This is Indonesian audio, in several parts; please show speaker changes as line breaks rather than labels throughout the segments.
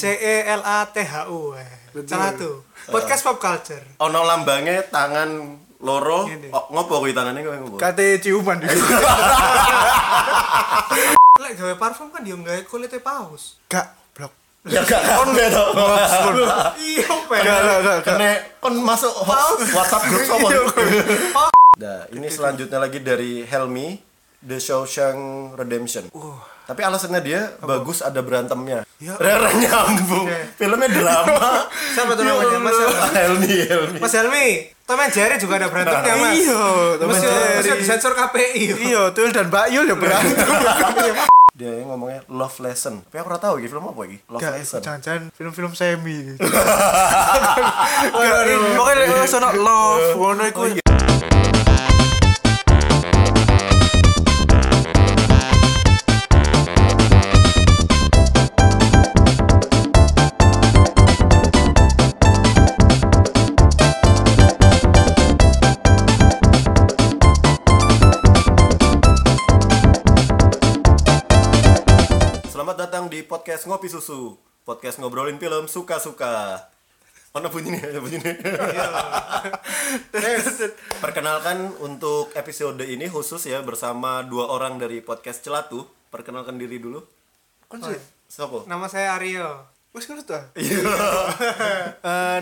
C E L A T H U. eh. Salah tuh.
Ah.
Podcast pop culture.
Ono lambangnya tangan loro.
Ngene.
Oh, ngopo kuwi tangannya kowe ngopo?
Kate ciuman di
Lek gawe parfum kan yo gawe kulite paus.
Gak blok.
Ya gak kon ya to.
Iya,
Gak
Pak.
gak gak. Iya, gak.
Kene kon masuk hoax WhatsApp grup apa? Nah, ini selanjutnya lagi dari Helmi The Shawshank Redemption.
Uh.
Tapi alasannya dia bagus ada berantemnya. Ya. Rere nyambung. Filmnya drama.
Iya,
Siapa tuh namanya? Mas Helmi.
Helmi, Helmi.
Mas Helmi. Tom and Jerry juga ada berantemnya,
Nah.
Mas.
Iya, Tom and
Mas, yo- Mas yo
Jerry.
disensor KPI. yo.
Iya, Tuyul dan Mbak Yul ya berantem.
Dia ngomongnya Love Lesson. Tapi aku ora tahu iki film apa iki. Love
Gak, eh,
Lesson.
Jangan-jangan film-film semi. iya.
Pokoknya lek ora sono love, ngono iku.
Oh,
Selamat datang di podcast Ngopi Susu. Podcast ngobrolin film suka-suka. Mana bunyi nih? Ada bunyi nih. Perkenalkan untuk episode ini khusus ya bersama dua orang dari podcast Celatu. Perkenalkan diri dulu.
Kan
Kon sih.
Sopo?
Nama saya Aryo. Eh,
Wes ngono tuh.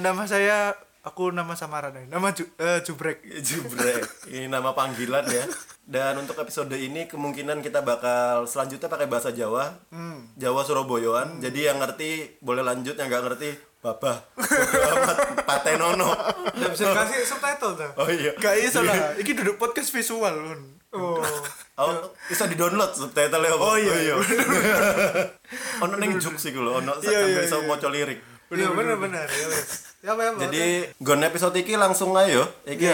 nama saya aku nama samaran aja. Nama Ju, eh, Jubrek.
Jubrek. Ini nama panggilan ya. Dan untuk episode ini kemungkinan kita bakal selanjutnya pakai bahasa Jawa. Jawa Suraboyoan. Jadi yang ngerti boleh lanjut, yang nggak ngerti babah. Bodo amat. Patenono.
Nggak bisa dikasih subtitle tuh.
Oh iya.
Gak iso lah. Iki duduk podcast visual Lun.
Oh.
Oh, bisa di-download subtitle apa? Oh iya. iya. ono ning jux iku lho, ono
Iya, iya,
sambil iso
iya.
maca lirik.
Iya benar-benar ya wes. Ya apa ya. apa.
Jadi, gon episode iki langsung ayo. Iki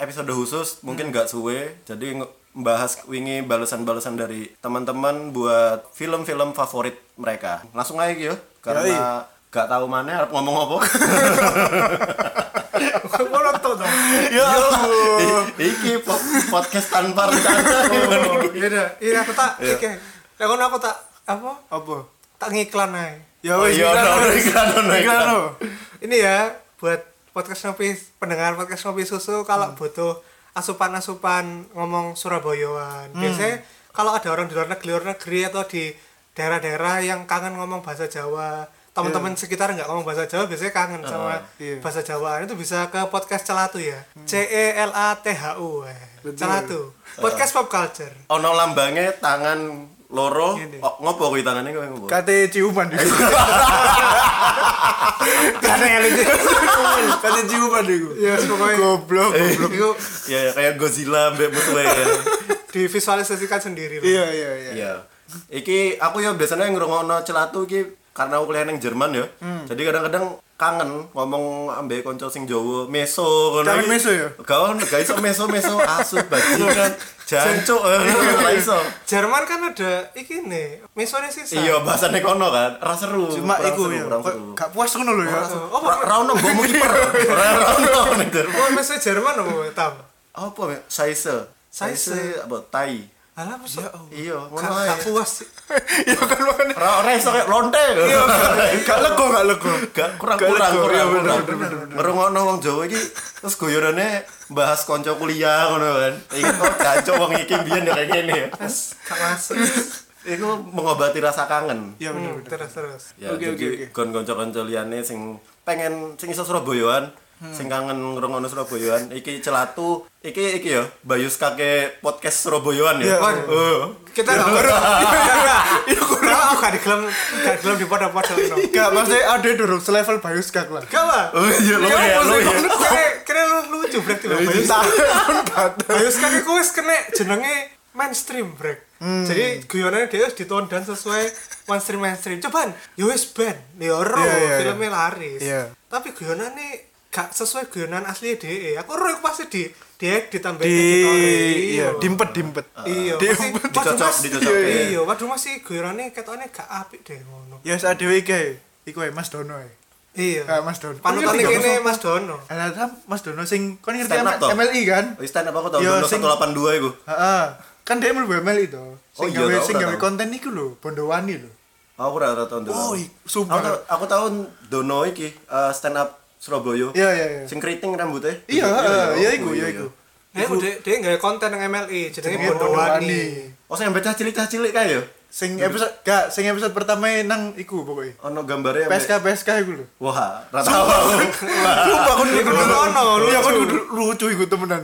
episode khusus, mungkin gak suwe. Jadi nge- membahas wingi balasan-balasan dari teman-teman buat film-film favorit mereka. Langsung aja iki, yo, karena gak tahu mana harap ngomong apa.
Kok nonton dong.
Ya ampun.
Iya, iki po- podcast tanpa rencana. Gimana iki?
Iya dah. Iya aku tak oke. Lah kono aku tak apa?
Apa?
Tak ngiklan ae.
Ya
Oh
wes.
iya, ono ono iklan, ono
Iklan,
iklan.
ono.
Ini ya buat podcast ngopi pendengar podcast ngopi susu
Hmm.
kalau butuh asupan-asupan ngomong Surabayaan.
Hmm.
Biasanya kalau ada orang di luar negeri, luar negeri atau di daerah-daerah yang kangen ngomong bahasa Jawa, teman-teman sekitar nggak ngomong bahasa Jawa biasanya kangen sama
iya. Hmm.
bahasa Jawa itu bisa ke podcast Celatu ya C E L A T H U eh. Celatu
Ah.
podcast pop culture
ono lambangnya tangan loro oh, ngopo kuwi tangannya kowe ngopo
Kate ciuman di
karena yang lucu
Kate ciuman iku.
ya pokoknya
Goblok.
itu
ya ya, kayak Godzilla mbek musuhe ya
divisualisasikan sendiri lah.
Iya iya iya.
Iya. iki aku ya biasanya ngrungokno celatu iki karena aku kuliah ning Jerman ya jadi kadang-kadang kangen ngomong ambek konco sing Jawa meso ngono iki.
Kangen meso ya?
gak ono gak iso meso meso asu bajingan jancuk eh, gak iso
Jerman kan ada iki nih misonya sisa
iya bahasane kono kan ra seru
Cuma
kurang
iku
seru,
ya.
kurang
kok
seru
Gak puas ngono lho ya.
oh
Ra- ra ono mbokmu kiper Ra- ra ono ning Jerman
oh misonya Jerman apa tam
apa ya size
Saise.
size apa tai
alah masa
iya ngono
Gak-
ae.
gak puas sih
Ya kan makanya.
ora ora iso kayak lonte
Gak lego gak lego.
Iya, Gak- kurang
Gak
kurang
lego, iya,
kurang
bener,
kurang
bener,
ngerungokno wong Jawa iki terus guyonane bahas konco kuliah ngono kan iki kok kacau wong iki biyen ya kayak gini ya
gak masuk
iku mengobati rasa kangen
Iya
Hmm,
bener bener.
terus terus
ya
Oke, oke,
jadi gon konco-konco liyane sing pengen sing iso Surabayaan sing kangen ngrungokno Surabayaan iki celatu iki iki ya Bayus kakek podcast Surabayaan ya
Iya.
Eh.
kita gak kurang iya kurang aku gak digelam gak digelam di podok-podok no.
Gak maksudnya ada dorong selevel bayus kak lah.
gak lah
oh iya lo ya lo ya
kira lu lucu brek tiba Bayus kakek ku wis kena jenenge mainstream brek.
Mm.
Jadi guyonane dia wis ditonton dan sesuai mainstream mainstream. Cobaan, yo wis ben, yo ro
Iya, iya,
filmnya laris.
Iya.
Tapi guyonane gak sesuai guyonan asli DE. Aku ro iku pasti di di ditambah
Di
editor.
iya dimpet dimpet.
Iya,
Di-
pasti-
dicocok,
waduh, Mas,
dicocokin.
iya, Iya, waduh Mas iki guyonane ketokne gak apik deh ngono.
Ya wis adewe iki. ae. Iku ae Mas Dono ae.
Iya.
Ah, Mas Dono.
Panutane
Iya,
kene
Mas
Mas Dono.
Alah tam, Mas Dono sing kon ngerti
Iya, Stand up,
M-
toh?
MLI kan?
Oh, stand up aku tau
Yo,
dulu
sing-
182 iku.
Heeh. Kan dia mlebu MLI to.
Oh,
Sing
iya,
gawe
tau,
sing
tau,
gawe
tau.
konten iku lho, Bondowani lho.
Aku ora ora tau ndelok.
Oh, i- sumpah.
Aku tau- Aku tau dono iki eh, stand up Surabaya.
Iya, iya, iya.
Sing keriting rambutnya.
Iya, eh, iya iku,
Oh,
iya iku.
Nek udah dia nggak konten yang E, MLI, jadi
Jenenge
Bondo
Bondowani.
Wani.
Oh, sing ambek cilik-cah cilik kae ya.
Sing episode gak, sing episode pertama nang iku pokoknya.
Ono gambarnya ambek-
PSK PSK iku lho.
Wah, ra tau aku.
Sumpah aku duduk
bener ono,
duduk. Iya aku
lucu.
duduk lucu iku temenan.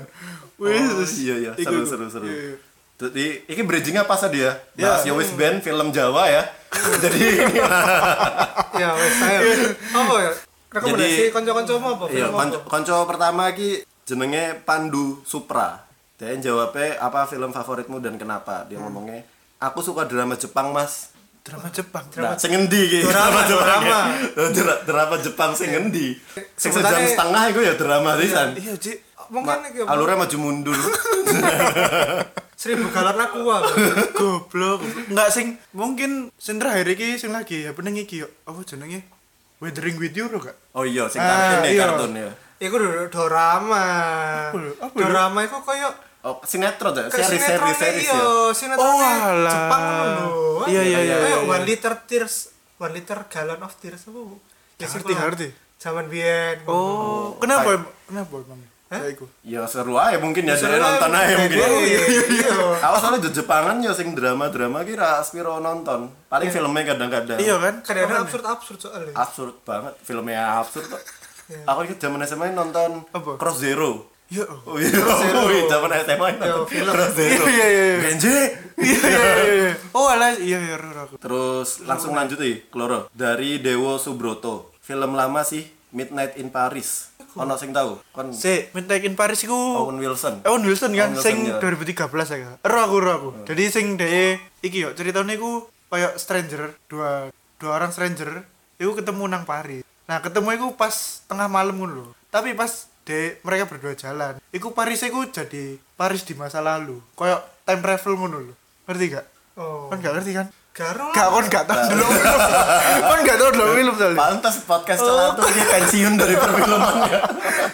Wis.
Iya, iya, seru
Iku, iku.
seru seru.
Iya, iya.
Jadi, ini bridgingnya pas dia.
Iya.
Bahas ya wis band film Jawa ya. Jadi ini
Ya wes saya.
Iya.
Apa ya? Rekomendasi
Jadi-
konco-konco mau apa?
Iya,
Film
konco,
apa?
konco pertama ki jenenge Pandu Supra. Dia jawabnya apa film favoritmu dan kenapa? Dia ngomongnya, aku suka drama Jepang mas.
Drama Jepang.
Nah, sing endi ki?
Drama, drama.
ki. Dra- drama Jepang sing endi? Sing sejam
Sementara-
setengah itu ya drama sisan.
Iya, Cik.
Mungkin
Ma-
iki apa?
Alurnya maju mundur.
Seribu galon aku apa?
Goblok. Enggak sing mungkin sing terakhir iki sing lagi ya peneng iki yo. Apa jenenge? Weathering with you lo gak?
Oh iya, sing
Ah,
kartun ya,
iya.
kartun ya.
Iku do- dorama.
Apa lho? Apa lho?
Dorama iku koyo
Oh, sinetron ya,
kayak
seri seri
sinetronnya
seri
iya,
ya.
sinetronnya
Oh, alah.
Jepang ngono lho.
Iya, iya,
iya,
Kayak
iya, iya.
one liter tears, one liter gallon of tears apa? Bu? Ya,
Ngerti,
sing
ngerti.
Zaman biyen.
Oh, kenapa em- kenapa emang? Ya iku.
Ya seru aja mungkin ya,
Seru
jadi nonton
aja.
aja mungkin.
Iya, iya, iya.
Aku soalnya di Jepangan ya sing drama-drama kira Aspiro nonton. Paling filmnya kadang-kadang.
Iya kan?
Kadang-kadang absurd-absurd soalnya.
absurd banget filmnya absurd kok aku ikut zaman SMA nonton
Iya. Apa?
Cross Zero
Iya.
Oh iya, oh iya, zaman SMA nonton Cross Zero
Iya, iya, iya.
Genji
Iya iya iya. Oh, alah iya iya ora aku.
terus langsung lanjut nih Kloro dari Dewo Subroto film lama sih Midnight in Paris ono sing tahu kon
Si, Midnight in Paris iku
Owen Wilson
Owen Wilson kan
Owen Wilson,
sing
iya.
2013 ya. Ero aku ero aku. Jadi sing dhewe iki yo ceritane iku kayak stranger, dua dua orang stranger iku ketemu nang Paris. Nah, ketemu iku pas tengah malam ngono lho. Tapi pas de mereka berdua jalan, iku Paris iku jadi Paris di masa lalu. Kayak time travel ngono lho. Ngerti gak?
Oh.
Kan gak ngerti kan?
Garo lah.
Gak, kon gak tau dulu film. Kon gak tau dulu film soalnya
pantas podcast celah
Oh.
tuh dia pensiun dari perfilman ya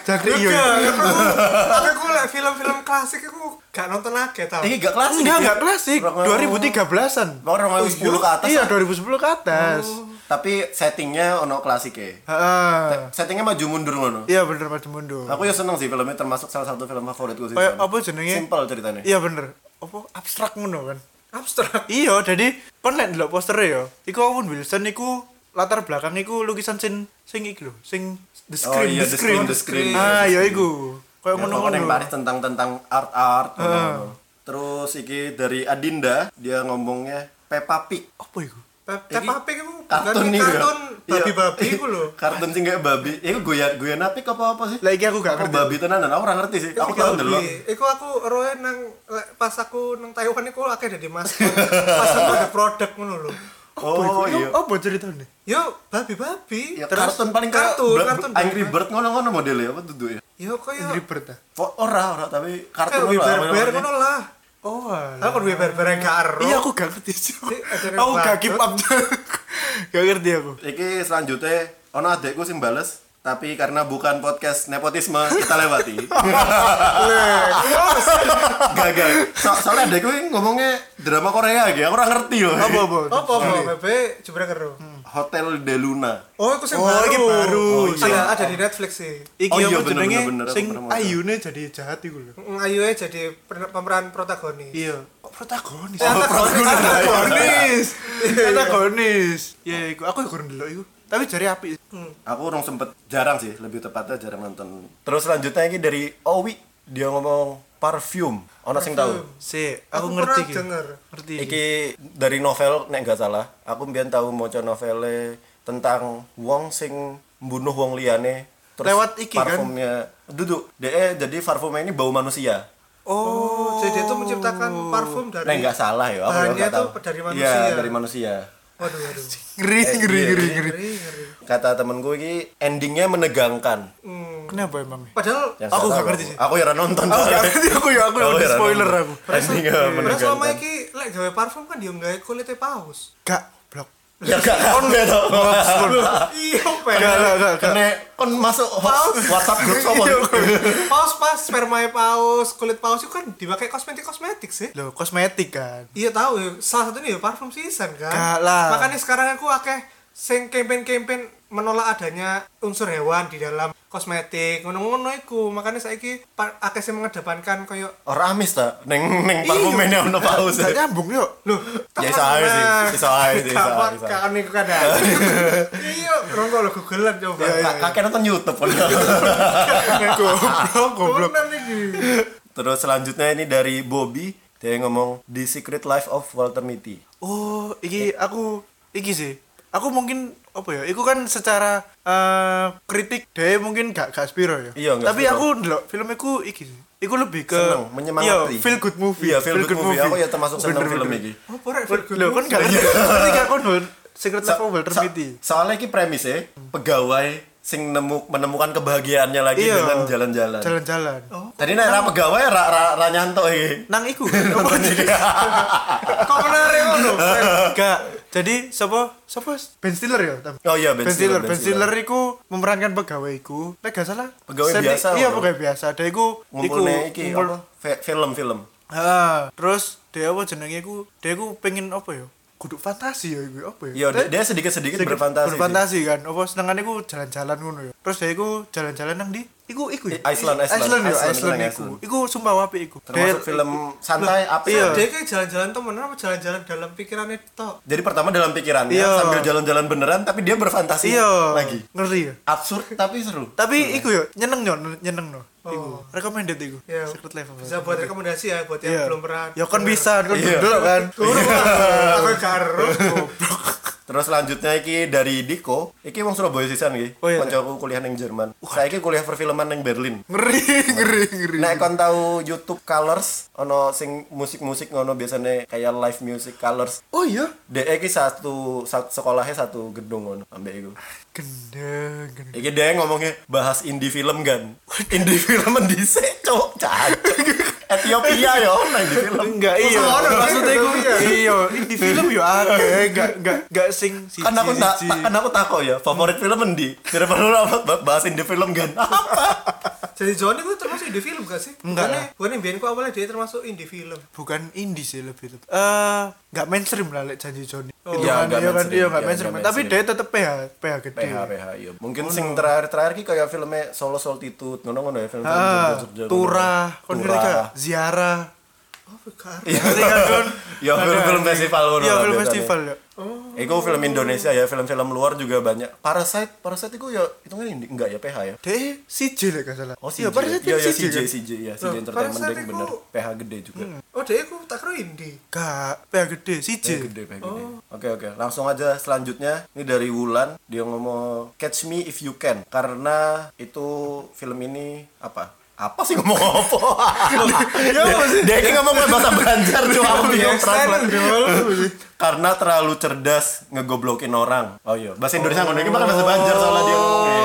Jadi iya
Iya, tapi aku lek film-film klasik aku gak nonton lagi tau.
ini gak klasik
Enggak,
ya?
enggak klasik.
Rong-
2013-an.
Rong- rong- rong- 10 ke atas
Iya, 2010 ke atas.
tapi settingnya ono klasik ya
Heeh.
settingnya maju mundur ngono
Ah. Iya bener maju mundur.
Aku ya seneng sih filmnya termasuk salah satu film favoritku sih.
Kayak
Son.
apa jenenge?
Simple ceritanya.
Iya bener. Apa abstrak ngono kan?
Abstrak.
Iya, jadi kon nek ndelok posternya ya. Iku Owen Wilson iku latar belakang iku lukisan sing sing iki lho, sing The
Oh
Scream,
iya, The Scream, The Scream.
Ah, ya iku.
Ya,
Kayak
pokoknya yang
ngono-ngono.
Paris tentang tentang art art.
Ah.
gitu. Terus iki dari Adinda dia ngomongnya Peppa Pig.
Apa iku?
Pe- Peppa Pig aku bukan
Kartun nih ya.
kartun
Iya.
babi-babi aku lho.
Kartun sih kayak babi. Iku gue gue napi apa apa sih?
Lah iki aku gak
Aku
ngerti.
babi tenan aku ora ngerti sih. Aku
Iku
tahu
babi.
dulu.
Iku aku roe nang lek pas aku nang Taiwan iku akeh dadi maskot. pas aku ada produk ngono lho.
Apa iku?
Oh iya.
Apa ceritanya?
Yo babi-babi.
Ya,
Terus
kartun paling kayak
kartun,
Black-
kartun.
Angry Bird ngono-ngono modelnya apa tuh ya?
Yo koyo
Angry Bird ah.
Po- Ora ora tapi kartun
kayak
apa
barbar
namanya?
ngono lah.
Oh, alah.
Aku duwe barbar yang gak ero.
Iya aku gak ngerti sih.
Jadi, ajarin
Aku gak
banget.
keep up. gak ngerti aku.
Iki selanjutnya ono adekku sing bales tapi karena bukan podcast nepotisme kita lewati. Gagal. So, soalnya adekku ini ngomongnya drama Korea gitu, aku ora ngerti loh.
Apa apa?
Apa apa bebe jebret kero.
Hotel de Luna.
Oh, iku sing
Oh,
baru.
iki baru.
Oh,
Sing-
Ada ada di Netflix sih.
Iki
Oh iya,
apa
bener,
jenenge
bener, bener, aku
sing
pernah maca.
ayune jadi jahat iku lho.
Ayu jadi per- pemeran protagonis.
Iya. Kok protagonis? Iya,
protagonis.
Protagonis. Protagonis. Hmm. Ya iku aku kurang delok iku. Tapi jari apik.
Aku orang sempet jarang sih, lebih tepatnya jarang nonton. Terus selanjutnya ini dari Owi dia ngomong parfum. Ono sing tahu?
Si,
Aku
aku Eh, ngerti
pernah
iki.
denger.
Ngerti. Iki
Iki dari novel nek nggak salah. Aku mbiyen tahu maca novele tentang wong sing mbunuh wong liyane
Lewat iki kan?
parfumnya duduk deh jadi parfumnya ini bau manusia
Oh, jadi dia tuh menciptakan parfum dari
nek nggak salah ya aku
bahannya
nggak tahu
tuh dari
Iya,
manusia.
dari manusia Eh, iya,
Waduh, waduh.
ngeri ngeri ngeri ngeri.
Ngeri, ngeri.
kata temenku ini endingnya menegangkan
Hmm.
Kenapa emang?
Padahal
Yang nggak
Aku nggak
tahu
ngerti sih.
aku ya ora nonton
Aku gak
soalnya.
ngerti aku ya aku yang
Aku
di
ya ora
spoiler
nonton.
aku.
endingnya
Padahal selama
menegangkan
iki lek gawe parfum kan dia gawe kulitnya paus.
Gak blok.
Ya gak kabeh to. Ah.
Iya, Pak.
Gak, gak, gak, gak.
Kene kon masuk hoax WhatsApp grup apa?
Iya,
Paus pas sperma paus, kulit paus itu kan dipakai kosmetik-kosmetik sih.
Loh, kosmetik kan.
Iya tahu ya, salah satunya ya parfum season kan.
Gak lah.
Makanya sekarang aku akeh sing campaign-campaign menolak adanya unsur hewan di dalam kosmetik ngono-ngono iku. Makanya saiki pa- akeh sing mengedepankan koyo
Ora amis ta ning ning
Iya.
parfume ne ono Iya, paus.
Gak nyambung yuk.
Loh,
Ya, iso ae sih, iso ae sih, iso ae, iso ae.
Kapan iku kan. Iya, rongko lo googlean coba.
Ka- iya. Kakek nonton YouTube. kon.
Goblok, goblok.
Turunan iki.
Terus selanjutnya ini dari Bobby, dia yang ngomong The Secret Life of Walter Mitty.
Oh,
Eh.
iki aku iki sih. Aku mungkin apa ya? Iku kan secara eh, kritik deh mungkin gak gak spiro ya.
Iya, gak
Tapi
spiro.
aku ndelok film iku iki sih. Iku lebih ke
Seneng, menyemangati.
Iya, feel good movie.
Iya, feel good movie. Aku ya termasuk seneng
Bener,
film
bener.
ini.
Oh, pore
Loh, kan gak ngerti gak kon Don. Secret Life of Walter
Iya. Sa-
Mitty. Hmm.
soalnya ini premis ya, pegawai sing nemu menemukan kebahagiaannya lagi
Iya. Kan-
dengan jalan-jalan.
Jalan-jalan.
Tadi nek ra pegawai ra ra, ra nyantok iki.
Nang iku. apa?
Kok menarik ngono?
Gak. Jadi siapa? Siapa? Ben Stiller ya? Tam?
Oh iya, Ben
Ben
Stiller,
Stiller.
Ben
Ben Stiller iku memerankan pegawai iku. Nek gak salah.
Pegawai
Sandy-
biasa,
Iya,
bro.
pegawai biasa. Ada iku iku
Ngumpulnya iki
ngumpul-
apa? Fe- Film-film.
Ha, terus dia apa jenenge iku? Dia iku pengen apa ya? Kudu fantasi ya iku apa ya?
Iya,
Tapi-
dia dia sedikit-sedikit
sedikit
berfantasi. sih.
berfantasi kan. Apa senengane iku jalan-jalan ngono ya. Terus dia iku jalan-jalan nang di iku iku ya.
Iceland, Iceland.
Iceland, ya,
Iceland,
Iceland
nang
iku.
Iceland.
Iku sumpah apik iku.
Termasuk
Dia-
film santai apa
Iya.
Dia kayak jalan-jalan temenan apa jalan-jalan dalam pikirannya tok.
Jadi pertama dalam pikirannya
Iya.
sambil jalan-jalan beneran tapi dia berfantasi
Iya.
lagi.
Ngeri ya.
Absurd tapi seru.
Tapi iku ya nyeneng yo, nyeneng no. Iku recommended iku.
Ya,
Secret Life of Walter
bisa buat rekomendasi ya buat yang
Iya.
belum pernah. Iya.
Ya kan bisa, kan dulu kan.
Turun aku karo.
Terus selanjutnya iki dari Diko, iki wong Surabaya sisan iki.
Oh, iya.
Koncoku kuliah ning Jerman. Saiki kuliah perfilman ning Berlin.
Ngeri, ngeri, ngeri.
Nek kon tau YouTube Colors ono sing musik-musik ngono biasanya kayak live music Colors.
Oh iya.
Dek iki satu, satu sekolahnya satu gedung ngono ambek iku.
Gendeng, gendeng.
Iki dek ngomongnya bahas indie film kan. Indie film dhisik cok cacok. Ethiopia yo ya, ono indie film.
Enggak iya.
Masa ngono,
Maksudnya iku
iya.
iya, di film yo
Eh,
akeh, enggak enggak enggak sing siji.
kan aku tak
siji.
tak- kan aku takut ya favorit film endi kira perlu apa bahas indie film kan
Jadi Johnny itu termasuk indie film gak sih?
Enggak lah.
Bukannya, bukannya biar aku awalnya dia termasuk indie film.
bukan indie sih lebih tepat. Eh, enggak mainstream lah lek janji Johnny.
Oh.
Itu
Iya,
kan,
nggak
iya kan,
mainstream,
iya,
iya,
enggak mainstream.
nggak
Tapi dia
mainstream.
tetep PH, PH gede. Ah,
PH PH iya mungkin sing terakhir terakhir ki kayak filmnya Solo Solitude ngono ngono ya film film
Ah,
Jogja-Jogja ngono.
turah, kon ngerti
Turah.
gak? Ziarah.
Oh, karo.
Iya.
Ngerti gak, Don?
ya film film
Ada.
festival ngono
Iya,
lah
film
biasanya. Oh.
festival ya.
Iku film Indonesia ya, film-film luar juga banyak. Parasite, Parasite itu ya hitungannya indie enggak ya PH ya?
Dia CJ lek gak salah.
Oh, CJ.
Iya, Parasite
Iya, iya,
CJ,
CJ,
kan?
CJ, ya,
Loh,
CJ Entertainment
Parasite
ding
iku-
bener. PH gede juga.
Oh, dia aku tak kira indie.
Gak, PH gede, CJ.
Kayak gede, kayak gede.
Oh.
Oke oke, langsung aja selanjutnya. Ini dari Wulan, dia ngomong Catch Me If You Can karena itu film ini apa? Apa sih ngomong apa?
Iya, apa sih? Iya,
dia ini ngomong bahasa Banjar tuh aku
Iya,
bingung translate.
dulu.
Karena terlalu cerdas ngegoblokin orang. Oh iya, bahasa Indonesia ngono ini bakal bahasa Banjar soalnya dia ngomongnya.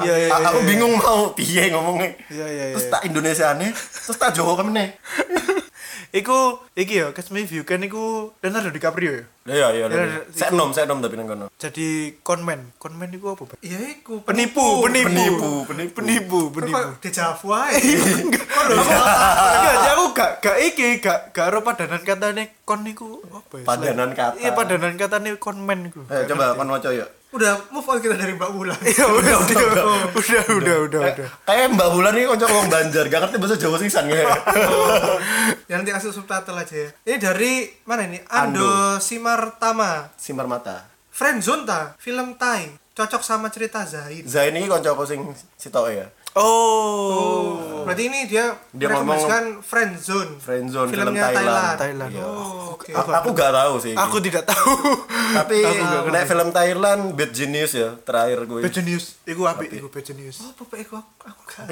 Iya, iya,
A-
iya.
aku bingung mau piye ngomongnya.
Iya, iya, iya.
Terus tak Indonesia aneh, terus tak Jawa kemene.
Iku, iki ya, Catch Me If You Can iku Leonardo DiCaprio ya.
Iya iya. iya.
Iya,
Saya nom, saya nom tapi nang kono.
Jadi konmen, konmen iku apa? Pak?
Iya, aku
Penipu, penipu,
Penipu, penipu.
penipu, penipu, penipu. Iya, Ah.
Kok dejavu aja.
Kok lho, aku enggak, jadi aku gak gak iki, gak gak ro padanan katane kon niku apa ya?
Padanan
Selain-
kata.
Iya, padanan katane konmen iku.
Ayo Eh, coba kon maca yuk.
Udah move on kita dari Mbak Wulan. Oh.
Iya, udah, udah, udah, udah, udah,
Eh.
udah.
Kayak Mbak Wulan ini kocok ngomong Banjar, gak ngerti bahasa Jawa sisan kayak.
Ya nanti kasih subtitle aja ya. Ini dari mana ini?
Ando.
Ando Simartama.
Simar mata.
Friendzone ta, film Thai. Cocok sama cerita Zaid.
Zain ini kocok sing sitok ya.
Oh,
Berarti ini dia,
Dia
merekomendasikan Friendzone.
Friendzone, film
filmnya
Thailand.
Thailand.
Thailand.
Iya.
Oh, oke.
A- Aku gak tahu sih.
Aku tidak tahu.
tapi
aku gak
nek film Thailand Bad Genius ya terakhir gue.
Bad Genius, iku apik, iku Bad Genius.
Oh, bapak aku aku gak.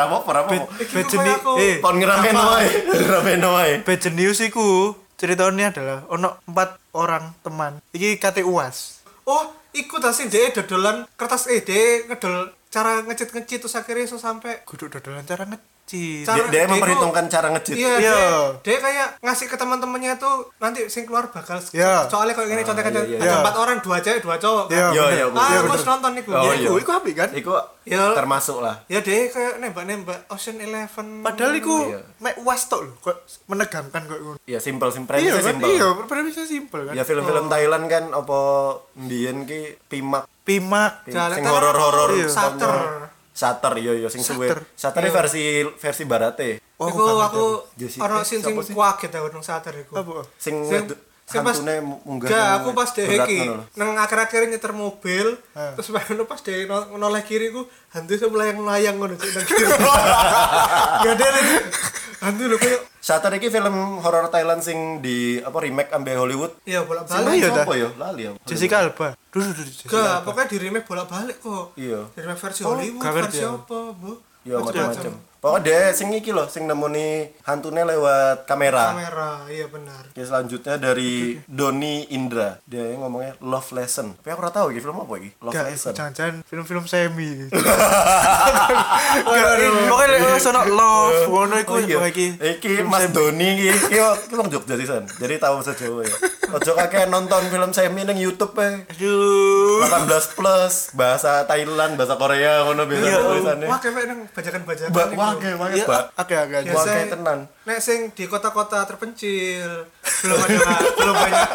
Rapo rapo.
Bad Genius,
aku-
eh,
Kon ngeramein wae, ngeramein wae.
Bad Genius iku ceritanya adalah ono empat orang teman. Iki kate uas.
Oh, ikut asin deh dodolan kertas eh deh ngedol cara ngecit ngecit terus akhirnya iso sampai
Guduk dodolan cara nge Cih.
Ca-
Dia,
Cara-
dia
dia
memperhitungkan cara ngejit.
Iya,
Iya.
dia, dia kayak ngasih ke teman-temannya tuh nanti sing keluar bakal
Iya.
soalnya kalau ini contohnya kan ada
iya, iya.
ada
Iya.
empat orang dua cewek dua cowok.
Iya,
kan.
Yo
bener.
yo.
Ah,
bener.
aku harus nonton iku.
Oh,
Ya,
iya.
Iku, iku apik kan?
Iku
Iya.
termasuk lah.
Ya dia kayak nembak-nembak Ocean Eleven.
Padahal iku
Iya.
mek uas tok lho, kok menegangkan kok ngono.
Iya simple simple
Iya kan?
simple.
Iya, premisnya simpel kan.
Ya
Oh.
film-film Thailand kan apa mbiyen ki Pimak
Pimak.
Jalan
sing
teror.
horor-horor
Iya. Shutter.
Shutter yo yo iya, sing suwe.
Shutter.
Shutter ini versi versi barate.
Oh,
iku
aku
aku
Jessica,
ono sing sing
siapa sih?
kaget aku nang sater iku.
Apa?
Sing
Sing-
ngedu-
sing pas-
hantune munggah.
Ya,
nang
aku pas deh
berat
iki
ngono lho.
nang akhir-akhir nyetir mobil, terus baru pas deh no- noleh kiri ku hantu iso melayang-layang ngono cuk nang kiri. Gak ada lagi. Hantu lho kayak
Shutter iki film horor Thailand sing di apa remake ambe Hollywood.
ya
Sing
bolak-balik.
Iya,
main
dah.
sapa yo? Lali ya? yo.
Jessica Alba. Duh, duh, duh, Jessica.
Gak, pokoknya di remake bolak-balik kok.
Iya.
Di remake versi
Oh,
Hollywood,
gak ngerti
versi
aku.
apa, Bu?
Yo Iya, macam-macam.
Macam-macam.
Pokoknya deh sing iki lho sing nemoni hantune lewat kamera.
Kamera, iya benar.
Oke, selanjutnya dari Doni Indra. Dia yang ngomongnya Love Lesson. Tapi aku ora tahu iki film apa iki. Love
Gak,
Lesson.
Ya, jangan-jangan film-film semi. Gak, pokoknya lek sono love, ngono iku
Oh iya.
ya, wah, iki.
Iki Mas Doni iki iki iki wong Jogja sisan. Jadi tahu bahasa Jawa ya. Ojo kakek nonton film semi ning YouTube e.
Aduh.
18 plus bahasa Thailand, bahasa Korea ngono biasa
Iya,
tulisannya.
Wah, kayak nang bajakan-bajakan.
Ba-
iku.
Wah, kayak banget,
Iya,
Mbak.
agak-agak.
Biasa-
Wah, kayak tenan.
Nek sing di kota-kota terpencil belum ada belum banyak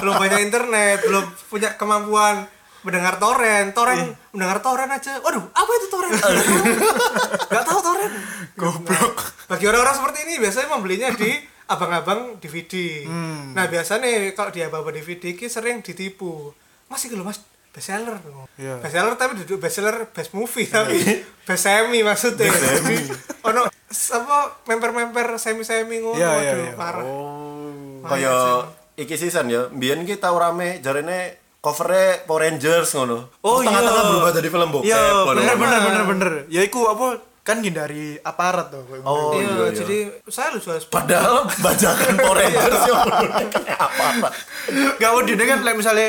belum banyak internet, belum punya kemampuan mendengar torrent,
Iya.
torrent mendengar torrent aja. Waduh, apa itu torrent? Gak tahu torrent. Goblok. Bagi orang-orang seperti ini biasanya membelinya di abang-abang DVD. Nah, biasanya kalau di abang-abang DVD ki sering ditipu. Mas iki lho, Mas bestseller
Iya.
bestseller tapi duduk bestseller best movie tapi best semi maksudnya semi ono s- apa memper-memper semi-semi ngono
Iya, iya,
aduh,
iya.
parah Parah
Kaya
sih.
iki season ya. Mbiyen ki tau rame jarene covernya Power Rangers ngono.
Oh,
Terus Tengah-tengah
iya.
berubah jadi film bokep.
Iya,
ngono.
bener bener bener bener. Ya iku apa kan hindari aparat tuh. kayak
Oh,
iya,
iya, iya.
jadi saya lu jual sepatu
Padahal bajakan Power Rangers ya. Apa apa.
Gak mau dine kan like misalnya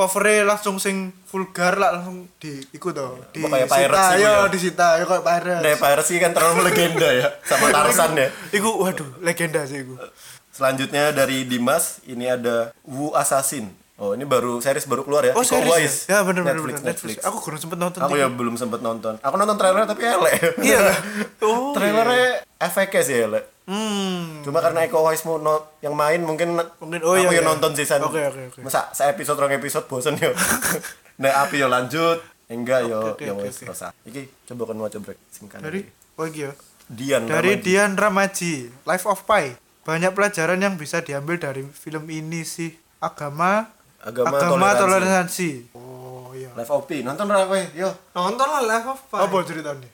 covernya langsung sing vulgar lah langsung di iku toh di
Kayak pirates iku
ya
ya.
disita ya kayak pirates
Nah, Pirates ki kan terlalu legenda ya sama Tarsan ya.
iku waduh legenda sih iku
Eh, Selanjutnya dari Dimas ini ada Wu Assassin. Oh ini baru series baru keluar ya.
oh
Iko Uwais.
serius ya bener bener
Netflix,
bener Netflix. aku kurang sempet nonton
Aku
sih.
ya belum sempet nonton. Aku nonton trailer tapi elek.
iya lah. oh
Trailernya efeknya sih elek.
hmm
Cuma karena Eko Uwais mau no- yang main mungkin,
Mungkin, oh
aku
iya,
yang
iya.
nonton season.
Oke, oke, oke.
Masa saya episode rong episode bosen yo. nah api yo lanjut. Enggak yo
Oke, oke,
yo
oke,
wes
oke.
rasa. Iki coba kan waca break singkat.
dari oh iya
Dian
dari
Ramadi.
Dian Ramaji Life of Pi banyak pelajaran yang bisa diambil dari film ini sih agama
Agama, toleransi.
toleransi. oh iya
Live OP nonton ora kowe yo.
nonton lah live of Pi.
apa ceritanya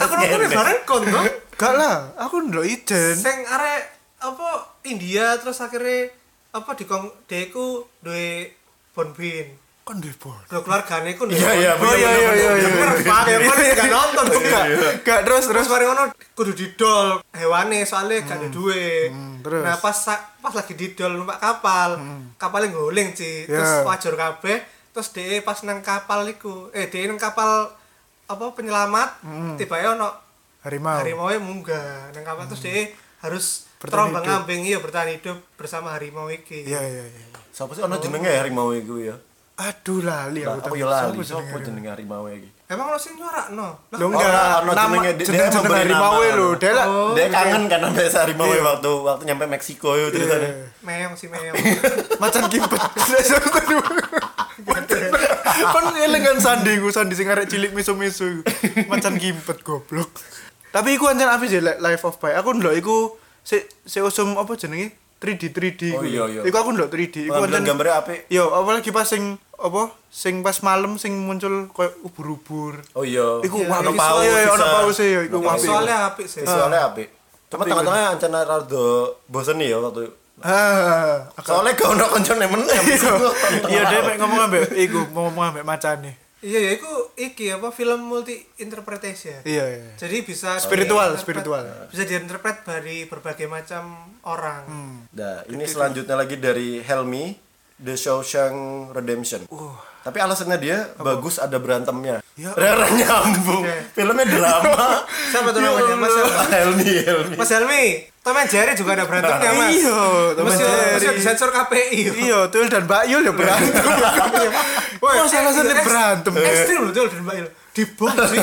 aku nonton bareng kon dong
Gak lah, aku ndelok Iden.
sing arek apa India terus akhirnya apa di kong deku duwe bonbin
Kon duwe bon.
Duwe keluargane ku duwe
Iya, iya,
Bonbin.
iya, iya, iya, iya.
Bener, Pak, ya kan gak nonton tuh gak
Gak terus terus.
terus mari ngono Iya, kudu didol hewane soalnya gak ada duwe
terus?
nah pas sa- pas lagi didol numpak kapal kapalnya nguling ci
Ya.
terus wajur kabeh terus de pas nang kapal iku eh de nang kapal apa penyelamat tiba tiba ono
Harimau.
harimau e munggah nang kapal terus de harus
Bertahan
terombang
hidup.
ambing iya bertahan hidup bersama harimau iki
Iya iya iya.
Sapa sih ono jenenge harimau iku ya?
Aduh lali aku.
Aku
tak-
yo oh, lali.
Siapa
Sapa
jenenge?
jenenge harimau iki?
emang lo sing nyuara no Lah,
Lo
Ora,
enggak.
ono
Nama
jenenge. Dia- dia
jeneng jeneng
memberi
harimau
nama.
lo. Dia lah.
Oh.
Dia ya, kangen kan sampai harimau
Iya.
waktu waktu nyampe Meksiko yo ceritanya.
meong si meong
Macan kimpet. Kon eling kan sandi ku sandi sing arek cilik misu-misu. Macan kimpet goblok. Tapi iku anjen apik sih like Life of Pi. Aku ndelok iku se se usum apa jenenge? 3D 3D
Oh,
iku.
iya, iya.
Iku aku ndelok 3D. Iku
Pengambilan
anjen-
gambarnya apik.
Yo, apalagi pas sing apa sing pas malam sing muncul koyo ubur-ubur.
Oh iya.
Iku
Iya,
wah
iya,
ono
visual.
paus.
Iya, iya,
Ono
ono
paus
pausnya,
ya
iya,
iku
Ono
apik.
soalnya apik sih Ah.
Visualnya apik. Ah. Cuma tengah-tengah ancana rada bosen ya waktu
Ah.
Soalnya gak ono koncone meneh.
Iya, dia pengen ngomong ambek iku, mau ngomong ambek macane.
iya ya iku iki apa film multi interpretation
Iya, iya.
jadi bisa
Spiritual,
diinterpret-
spiritual.
bisa diinterpret dari berbagai macam orang
Hmm.
Nah, ini selanjutnya lagi dari Helmi. The Shawshank Redemption. Tapi alasannya dia bagus ada berantemnya.
Uh. Ya.
Rara nyambung. Filmnya drama.
Siapa tuh
Ya
namanya? Mas siapa?
Helmi, Helmi.
Mas Helmi, Tom and Jerry juga ada berantemnya
Nah,
mas.
iya, Tom and
Mas yo-
Jerry.
mas yo disensor KPI. yo.
iya Tuyul dan Mbak Yul ya berantem
Woi,
Mas alasannya
eks-
berantem Iya.
Ekstrim loh tuh Mbak Il. Dibom sih.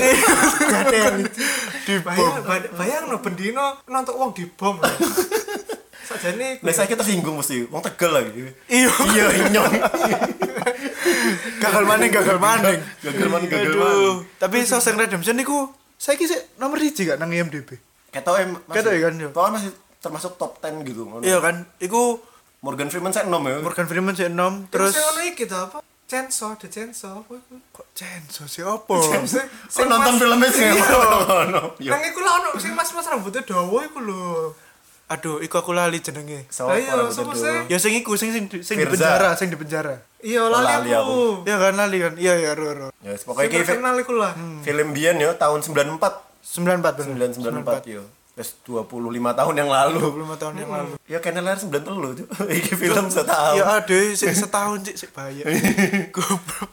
Gak ada yang
Dibom.
Bayang, bay- bayang no bendino nonton uang dibom. Saja nih.
Nah, saya kita singgung mesti. Wong Tegal lagi.
iya
Iya, inyong.
gagal maning gagal maning
Gagal man, gagal man.
Aduh, tapi Shawshank Redemption niku saya kira nomor hiji gak nang IMDb
Ketok em. masih-
Ketok ya kan, iya.
Pokoknya masih termasuk top 10 gitu. ngono.
iya kan iku
Morgan Freeman saya 6 ya.
Morgan Freeman sih enom
Terus
terus
yang ngono iki tuh apa? Chainsaw, The Chainsaw. apa iku?
kok Censo sih apa
Sing-
Saya
sing
Oh. nonton
mas-
filmnya sih. Iya. Ngono. Yo.
Iya.
Nang iku lah ono sing mas-mas rambutnya dawa iku lho.
aduh iku aku lali jenenge
Sapa
Ayo,
rambutnya
sapa
dulu?
sih?
ya sing iku sing sing sing di
Firza.
penjara sing di penjara
Iya, lali
Lali aku.
aku.
ya kan lali kan iya ya ro ro
Ya, yes,
Sing
pokoknya iki fi-
terkenal iku lah.
film Bian yo tahun 94.
94 bener
994 yo. Wes 25 tahun yang lalu.
25 tahun yang lalu
Ya kena lahir 93 tuh. Iki film setahun.
ya aduh sik setahun sik sik bahaya
Iya.
goblok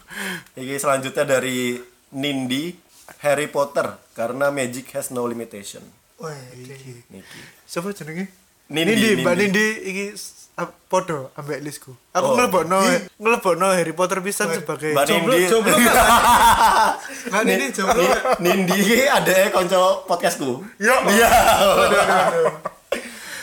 Iki selanjutnya dari Nindi Harry Potter karena magic has no limitation.
Wah,
Niki.
siapa jenenge
Nindi,
Nindi, Mbak
Nindi.
Nindi iki s- ap- podo ambek listku. Aku
Oh.
ngelebokno ngelebokno Harry Potter pisan sebagai
Mbak
Jomblo-
Nindi.
jomblo Kan ini jomblo.
Ni- Nindi iki ada konco podcastku.
Ya.
Iya.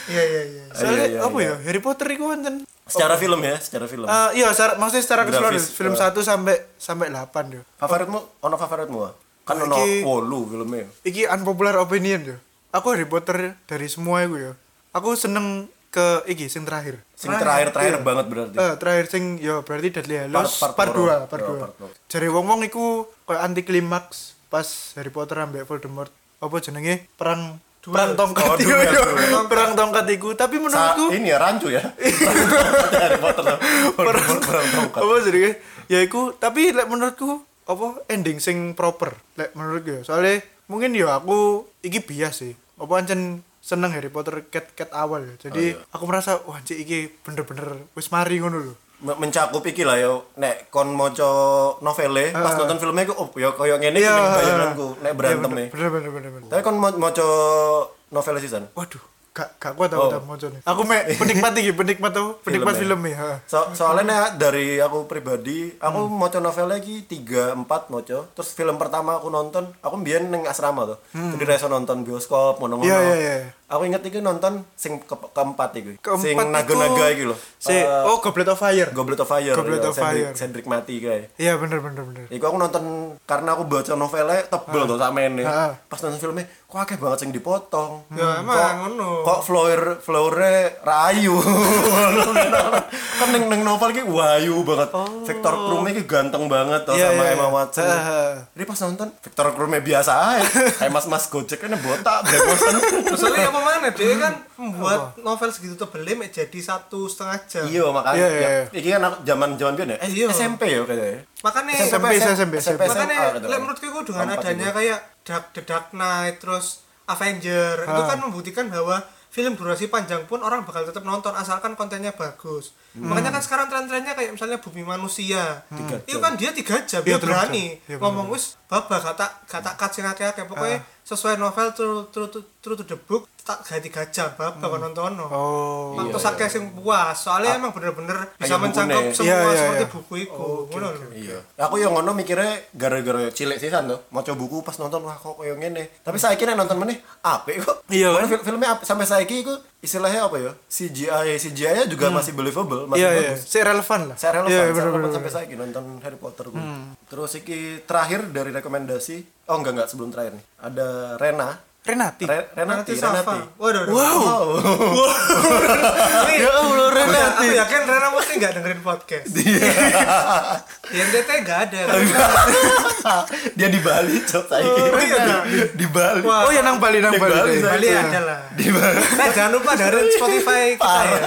Iya, iya, iya.
Soalnya
Iya, iya,
apa
iya.
ya? Harry Potter iku wonten
Secara film ya, secara film.
Eh, iya, secara- maksudnya secara
Grafis,
keseluruhan film
eh.
1 sampai sampai 8 yo.
Favoritmu ono favoritmu? ah? Kan
Oh,
ono
iki-
8 filmnya.
Iki unpopular opinion yo. Aku Harry Potter dari semua iku yo. Aku seneng ke iki sing terakhir.
Sing terakhir-terakhir
Iya.
banget berarti.
Eh, terakhir sing yo berarti Deadly Hallows
Part- part
part,
loro.
2, part
Yo,
2.
part loro.
Jare wong-wong iku koyo anti klimaks pas Harry Potter ambek Voldemort. Apa jenenge? Perang perang tongkat
Oh,
iku
duel,
yo.
duel.
Perang tongkat iku, tapi
Sa-
menurutku Iya.
ini ya rancu ya. Harry Potter. Perang tongkat.
apa jenenge? Ya iku, tapi lek menurutku apa ending sing proper lek menurutku ya. Soale mungkin yo aku iki bias sih. Apa ancen seneng Harry Potter cat cat awal ya.
Oh,
Jadi aku merasa wah cik iki bener-bener wis mari ngono lho.
Me- mencakup iki lah yo nek kon maca novele pas nonton filmnya ku oh yo koyo ngene iki
Iya,
ning
iya.
bayanganku nek berantem
Iya,
e.
bener bener bener bener.
Tapi kon mau maca novele sisan.
Waduh, gak gak kuat
Oh.
aku tak mocone. Aku mek penikmat iki, penikmat tau, penikmat film
Filmnya.
ya.
So, soalnya nek dari aku pribadi, aku
Hmm.
maca novele iki 3 4 maca. Terus film pertama aku nonton, aku mbiyen ning asrama tuh. Jadi rasa nonton bioskop ngono-ngono.
Hmm. Iya, iya, iya.
Aku inget iki nonton sing ke- keempat iki.
Keempat
sing
iku-
naga-naga iki lho.
Si,
Eh,
oh Goblet of Fire.
Goblet of Fire.
Goblet
iya,
of
Cedric-
Fire.
Cedric mati kayak.
Iya bener bener bener.
Iku aku nonton karena aku baca novelnya tebel tuh sama ini.
Ah.
Pas nonton filmnya, kok akeh banget yang dipotong.
Ya,
Kok-
emang ngono.
Kok flower flowernya rayu. kan neng neng novel ki wayu banget. Victor Krume ki ganteng banget tuh
Oh. Iya,
sama
iya,
Emma
iya.
Watson.
Ah, ah.
Jadi pas nonton Victor Krume biasa aja. Kayak mas-mas Gojek kan botak, black bosen.
Soalnya apa mana dia kan membuat novel segitu tebelnya mek jadi satu setengah jam.
Iya makanya.
Iya, iya,
ya, Iki kan aku zaman-zaman biyen ya. Eh,
Iya.
SMP ya kayaknya.
Makanya
SMP, SMP, SMP.
makanya
gitu.
lek menurutku itu dengan
Empat
adanya
itu.
kayak Dark The Dark Knight terus Avenger itu kan membuktikan bahwa film durasi panjang pun orang bakal tetap nonton asalkan kontennya bagus. Makanya kan sekarang tren-trennya kayak misalnya Bumi Manusia. Itu kan dia tiga jam dia
Iya, tiga jam.
berani
Iya, bener.
ngomong wis babak gak tak gak tak cut sing akeh-akeh pokoknya sesuai novel true true true to the book tak gak tiga jam babak hmm. nonton.
Oh.
Mantu akeh sing puas, soalnya emang bener-bener bisa
Kayak buku
mencangkup
nih.
semua
Iya, iya,
seperti
iya.
buku iku. Ngono lho.
Iya. Aku yang ngono mikirnya gara-gara cilik sisan tuh, maca buku pas nonton wah kok koyo ngene. Tapi saiki nek nonton meneh apik kok.
Iya, kan?
Karena fil- filmnya apik. sampai saiki iku istilahnya apa ya? CGI CGI-nya juga masih believable, masih
Iya iya,
bagus.
si relevan lah.
Saya relevan,
Iya,
saya
bener,
relevan
bener,
sampai
bener.
saiki nonton Harry Potter gue. Terus iki terakhir dari rekomendasi, oh enggak enggak sebelum terakhir nih. Ada Rena.
Renati.
Re-
Nanti
Renati, Renati.
Safa. Waduh.
Wow.
Ini-
Ya Allah,
Aku
Renati.
ya- Aku yakin Rena mesti nggak dengerin podcast. Di NTT nggak ada.
Dia di Bali, cok saiki.
Oh, iya.
di Bali. iya,
Wah.
Oh ya nang Bali nang
Di Bali,
Bali. ya.
saya.
Bali ada lah.
Di Bali. Iya.
Eh jangan lupa dengerin Spotify kita ya.
Parah.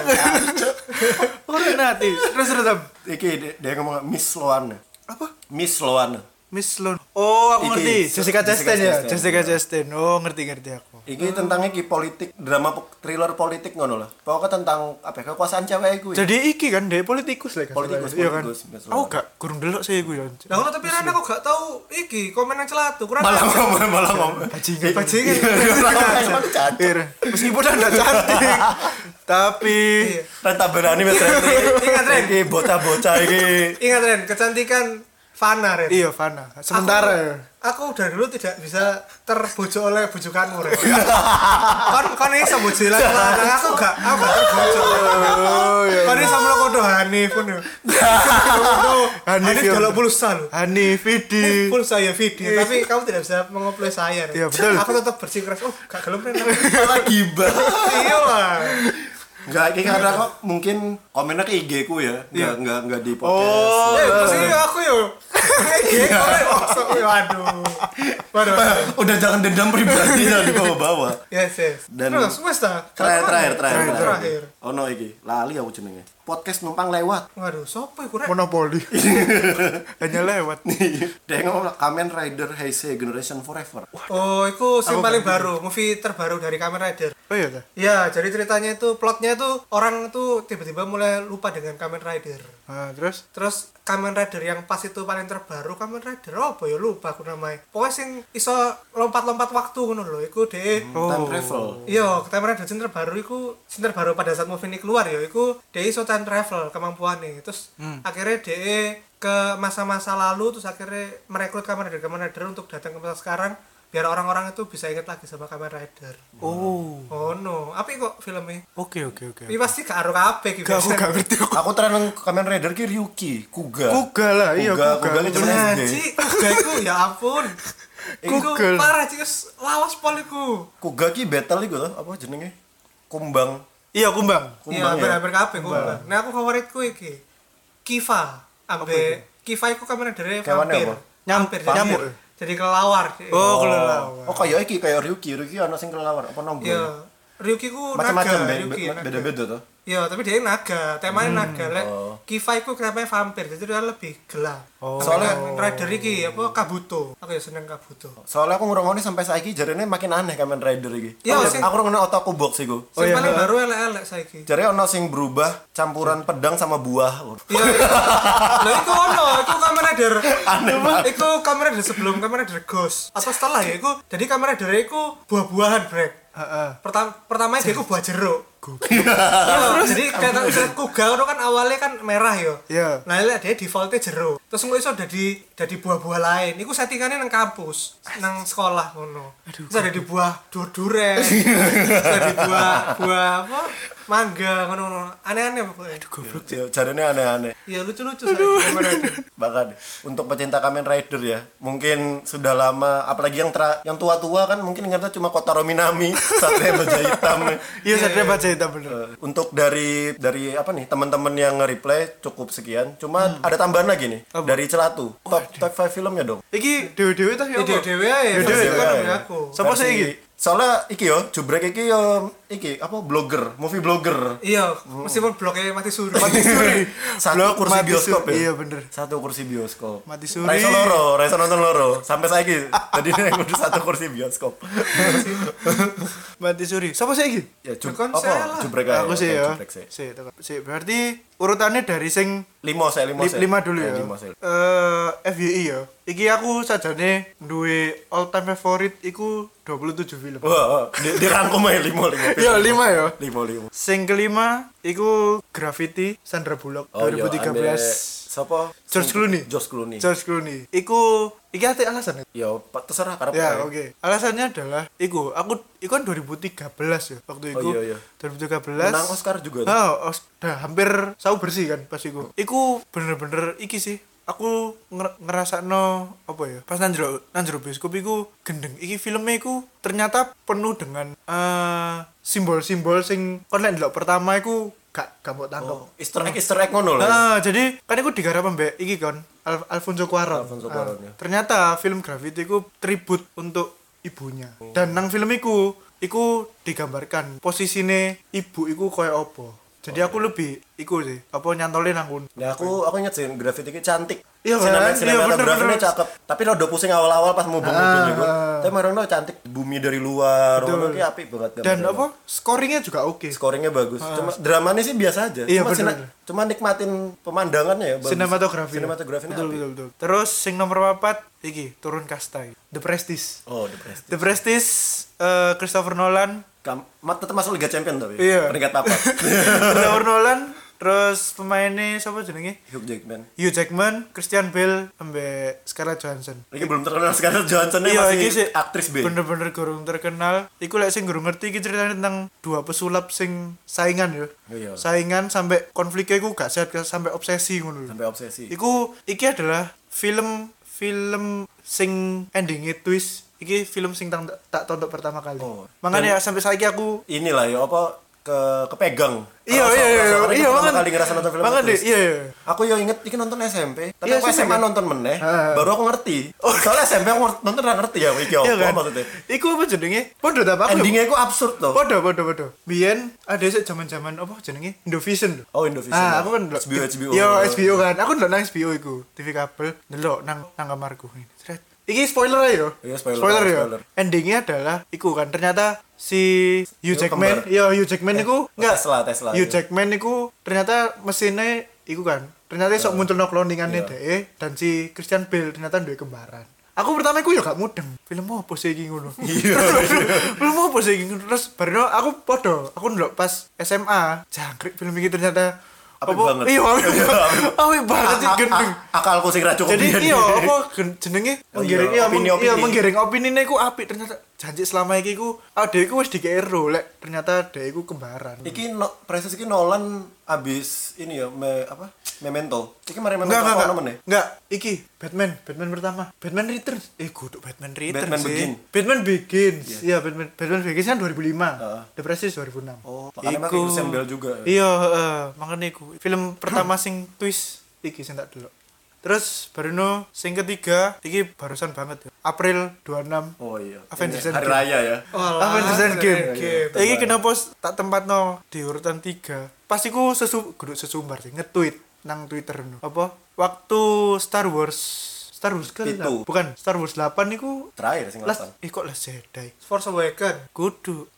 Oh Renati. Terus terus. Am.
Iki dia, dia ngomong Miss Loana.
Apa?
Miss Loana.
Miss Lon. Oh,
Iki,
aku ngerti. Jessica
Jessica
Chastain ya.
Chastain.
Jessica Chastain. Oh, ngerti ngerti aku.
Iki
Hmm.
tentang iki politik, drama po- thriller politik ngono lah. Pokoknya tentang apa ya, kekuasaan cewek iku. ya.
Jadi iki kan dek politikus lah kan.
Politikus,
Iya kan.
politikus, biasa.
Aku gak kurang delok sih gue ya.
Lah ngono tapi Rana aku gak tau iki komen yang celatu. Kurang
Malah ngomong, malah ngomong.
Bajingan.
Iya,
Bajingan.
Malah ngomong, cantik.
Iya. Meskipun anda cantik, tapi
Iya. Renta berani mas Randy.
Ingat, Ren.
Iki bocah-bocah iki.
Ingat Ren, kecantikan fana Ren.
iya Fana. Sementara
Aku-
ya.
Aku, dari dulu tidak bisa terbujuk oleh bujukanmu Ren.
Iya.
kon kon ini sama bujilan lanang aku gak aku gak terbujuk.
Oh, iya,
Kon ini sama lo kodo Hanif pun. yo. Kodo
Hanif, ya.
Hanif
yo.
dolok pulsa lo.
Hani, Vidi.
Pulsa ya video, tapi kamu tidak bisa mengoplay saya. Ren.
Iya, betul.
Aku tetap bersikeras, oh gak gelem Ren.
Malah gibah.
Iya lah.
Enggak, iki karena kok mungkin komennya ke IG ku ya. Enggak, enggak, enggak di podcast.
Oh,
Eh, mesti aku yo. Kayak gitu, maksud- waduh. Waduh. waduh.
Udah jangan dendam pribadi jangan dibawa-bawa.
Yes, yes.
Dan-
Terus, wes ta?
Terakhir, terakhir, terakhir.
Terakhir, terakhir.
Oh no iki, lali aku jenenge. Podcast numpang lewat.
Waduh, sopo iku rek?
monopoli. Hanya lewat.
Dia ngomong lah, Kamen Rider Heisei Generation Forever. Wah,
Oh, itu sing paling baru, movie terbaru dari Kamen Rider.
Oh iya ta.
Ya, jadi ceritanya itu plotnya itu orang tuh tiba-tiba mulai lupa dengan Kamen Rider.
Nah, terus
Terus Kamen Rider yang pas itu paling terbaru Kamen Rider apa ya lupa aku namanya. Pokoknya sing iso lompat-lompat waktu ngono lho, iku deh
Hmm.
time
Oh.
travel.
Iya, Kamen Rider sing terbaru iku sing terbaru pada saat movie ini keluar ya iku dia iso time travel kemampuannya. Terus
Hmm.
akhirnya dia ke masa-masa lalu terus akhirnya merekrut Kamen Rider Kamen Rider untuk datang ke masa sekarang biar orang-orang itu bisa ingat lagi sama Kamen Rider.
oh.
Oh no, apa kok filmnya?
Oke oke oke.
Ini pasti gak aruh kabeh gitu.
Iya. Gak aku gak ngerti aku.
Aku tren nang Kamen Rider ki Ryuki, Kuga.
Kuga lah, iya
Kuga,
Kuga.
Kuga ini cuman
Nah,
SD.
Ci, kuga iku ya ampun. Iku
Google.
parah Ci, wis lawas pol iku.
Kuga ki battle iku loh, apa jenenge? Kumbang.
Iya kumbang.
Iya,
Kumbang ya.
hampir-hampir kabeh kumbang. Nah, aku favoritku iki. Kiva. Ambe Kiva iku kamera dari
Kewannya
vampir.
apa?
Nyampir,
Nyamuk.
nyamuk. Jadi kelelawar. Ci.
Oh, kelelawar.
Oh, kayak iki, kayak Ryuki, Ryuki ana sing kelelawar, apa nombor?
Iya. Ryuki ku
Macam-macam
naga,
be-
Ryuki
be- Hmm, oh.
naga.
beda-beda tuh.
Iya, tapi dia naga, temanya naga. Lek Kiva iku kenapa vampir, jadi dia lebih gelap.
Oh.
Soalnya Rider iki apa Kabuto. Aku ya seneng Kabuto.
Soalnya aku ngrungokne sampai saiki jarene makin aneh Kamen Rider iki.
Iya,
aku,
sing-
aku ngrungokne otakku box iku.
Sing
iya,
paling
heeh.
baru elek-elek saiki.
Jare ono sing berubah campuran pedang sama buah.
Iya. iya. Lah itu ono, itu kamera der. Itu kamera der sebelum kamera der Ghost atau setelah ya iku. Jadi kamera der iku buah-buahan, Brek.
Heeh.
Pertama pertamanya dia iku buah jeruk. Iya, jadi kayak tak kuga kuga itu kan awalnya kan merah yo.
Iya.
Nah, lihat dia defaultnya jeruk. Terus gue iso jadi jadi buah-buah lain. Iku settingannya nang kampus, nang sekolah ngono. Terus ada di buah dur-duren. Terus ada di buah buah apa? Mangga ngono-ngono. Aneh-aneh pokoknya.
Ya, Jarene aneh-aneh.
Iya lucu-lucu saya. Kamera der.
Bahkan untuk pecinta Kamen Rider ya, mungkin sudah lama apalagi yang tra- yang tua-tua kan mungkin ingatnya cuma Kotaro Minami, Satria Baja Hitam.
Iya sadar baca hitam bener.
Eh, Untuk dari dari apa nih teman-teman yang nge-reply cukup sekian. Cuma ada tambahan lagi nih dari Celatu. Top top 5 filmnya dong.
Iki dewe-dewe tah
Ya
ya. apa?
dewe-dewe ae.
Ya,
versi
dewe-dewe
kan
ae.
dari aku.
Sapa sih
Versi-
iki?
gitu. Soalnya iki yo, jubrek iki yo iki apa blogger, movie blogger.
Iya,
Oh.
meskipun bloknya mati suri.
Satu
Blog
kursi
mati
bioskop
suri,
ya.
iya, bener.
Satu kursi bioskop.
Mati suri.
Raiso loro, Raiso nonton loro. Sampai saya gitu. Tadi dia kudu satu kursi bioskop.
Mati suri. Sapa sih iki?
ya jub,
Bukan
apa?
saya lah.
Jubrek aja.
Aku sih
Oke,
ya.
jubrek sih.
Sih, tak- sih. Berarti urutannya dari sing
Limo saya, limo
li-
saya.
lima dulu
Eh,
ya.
limo saya.
Eh FYI ya. Iki aku sajane duwe all time favorite iku 27 film.
Wah, wah, di- dirangkum aja limo, limo.
Iya, lima ya.
Limo, limo.
Sing kelima iku Graffiti Sandra Bullock
Oh, iya,
2013.
ambek- Siapa?
George Clooney.
George Clooney.
George Clooney. Iku iki ate alasan ya?
Ya, pa- terserah karena
Ya, oke. Alasannya adalah iku aku iku kan 2013 ya waktu iku.
iya, iya.
2013.
Menang Oscar juga tuh.
Oh, os, dah hampir sawu bersih kan pas iku. Iku bener-bener iki sih. Aku nger ngerasakno apa ya? Pas nang jero nang jero bioskop iku gendeng. Iki filmnya iku ternyata penuh dengan eh, simbol-simbol sing kon lek ndelok pertama iku gak gak mbok tangkep.
Oh, Easter egg, Easter egg ngono lah.
Nah, jadi kan aku digarap mbak iki kan Al Alfonso Cuarón.
Alfonso Cuarón, ya.
Ah, ternyata film Gravity ku tribut untuk ibunya. Dan nang film iku iku digambarkan posisine ibu iku
Oh,
koyo
iya.
apa. Jadi aku lebih iku sih, apa nyantolin nang kono.
Nah, Ya aku aku inget sih grafiti cantik.
Iya,
Cinema
beneran. Iya, bener,
sinematografinya
bener.
cakep. Tapi lo udah pusing awal-awal pas mau bangun
Ah.
iku. Tapi marang lo cantik bumi dari luar.
Betul.
Ngono ki apik banget.
dan
gambarnya.
apa scoringnya juga oke
Scoringnya bagus. Cuma dramanya sih biasa aja.
Iya,
cuma,
bener.
sina- cuma nikmatin pemandangannya ya. bagus.
sinematografi
Sinematografinya
betul,
apik.
betul, betul. terus sing nomor papat iki turun kasta iki. The Prestige
Oh, the best.
The Prestige eh, Christopher Nolan
Kam- Mat tetap masuk Liga Champion tapi.
Iya.
Peringkat apa?
Christopher Nolan terus pemainnya siapa jenenge
Hugh Jackman.
Hugh Jackman, Christian Bale, sampai Scarlett Johansson. Iya,
Ini belum terkenal sekarang Johnson masih
iki sih
aktris B.
Bener-bener gurung terkenal. Iku lek sing gurung ngerti iki ceritanya tentang dua pesulap sing saingan yo.
Iya.
Saingan sampai konfliknya iku gak sehat sampai obsesi ngono lho.
Sampai obsesi.
Iku iki adalah film film sing endingnya twist. Iki film sing tak tak tonton pertama kali.
Oh.
Makanya sampai saiki aku
Inilah ya apa ke kepegang.
Iya
Kerasa-
iya iya
kerasa. Karena
iya
pertama
banget.
kali ngerasa nonton film
Banget
terus.
deh, iya iya.
Aku yo inget iki nonton SMP, tapi
Iya,
aku
sih,
SMA
iya.
nonton meneh,
Ah.
baru aku ngerti. Soalnya SMP aku ngerti- nonton nggak ngerti ya iki apa
Iya kan?
maksudnya.
Iku apa jenenge? Podo ta apa?
Endingnya aku absurd tuh.
Podo podo podo. Biyen ada sih zaman-zaman apa jenenge? Indovision lho.
Oh Indovision.
Ah, aku kan ndelok-
HBO HBO.
Yo, HBO kan. Aku ndelok nang HBO iku, TV kabel, ndelok nang nang kamarku. Sret. Iki spoiler ya yo.
Iya, spoiler,
ya.
spoiler.
Endingnya adalah iku kan ternyata si Hugh
Iku kembar.
Jackman, yo Hugh Jackman iku
oh, Tesla, Tesla,
Hugh
iya.
Jackman iku ternyata mesinnya iku kan. Ternyata sok muncul no
iya.
kloningannya dhek dan si Christian Bale ternyata duwe kembaran. Aku pertama iku yo gak mudeng. Film apa sih iki ngono?
Iya.
film apa sih ini? terus baru aku podo aku ndelok pas SMA jangkrik film ini ternyata
Apik
apa-
banget. Ah,
iya apik banget apik banget
A-
sih
a-
gendeng
a- Akalku sing ra cukup.
jadi
biyen.
iya apa gen- jenenge
Oh,
menggiring
iya,
iya meng-
opini-opini.
iya menggiring opini nih aku apik ternyata janji selama ini aku ah dia aku wis dikei lek ternyata dia aku kembaran
Iki no, proses iki Nolan abis ini ya me, apa? Memento. Iki mari Memento
Enggak, enggak,
apa ya?
enggak.
namanya?
Enggak, iki Batman, Batman pertama. Batman Returns. Eh, kudu Batman Returns.
Batman
sih.
Begin.
Batman Begins. Iya, Batman Batman Begins kan 2005.
Heeh.
The Prestige 2006.
Oh, makanya pakai Christian Bale juga ya?
Iya, heeh. makanya iku. Film pertama sing twist iki sing tak delok. Terus Barno sing ketiga iki barusan banget ya. April 26.
Oh iya.
Avengers
Ini, hari
Endgame. Oh.
raya ya.
Avengers Endgame.
Endgame.
Ah, Iki kenapa s- tak tempatno di urutan 3. Pasti ku sesu guduk sesumbar sih nge-tweet nang Twitter no. Apa? Waktu Star Wars Star Wars kan
Pitu.
bukan Star Wars 8 niku
Terakhir sing
Last
lapan.
eh kok Last Jedi.
Force Awakens
Kudu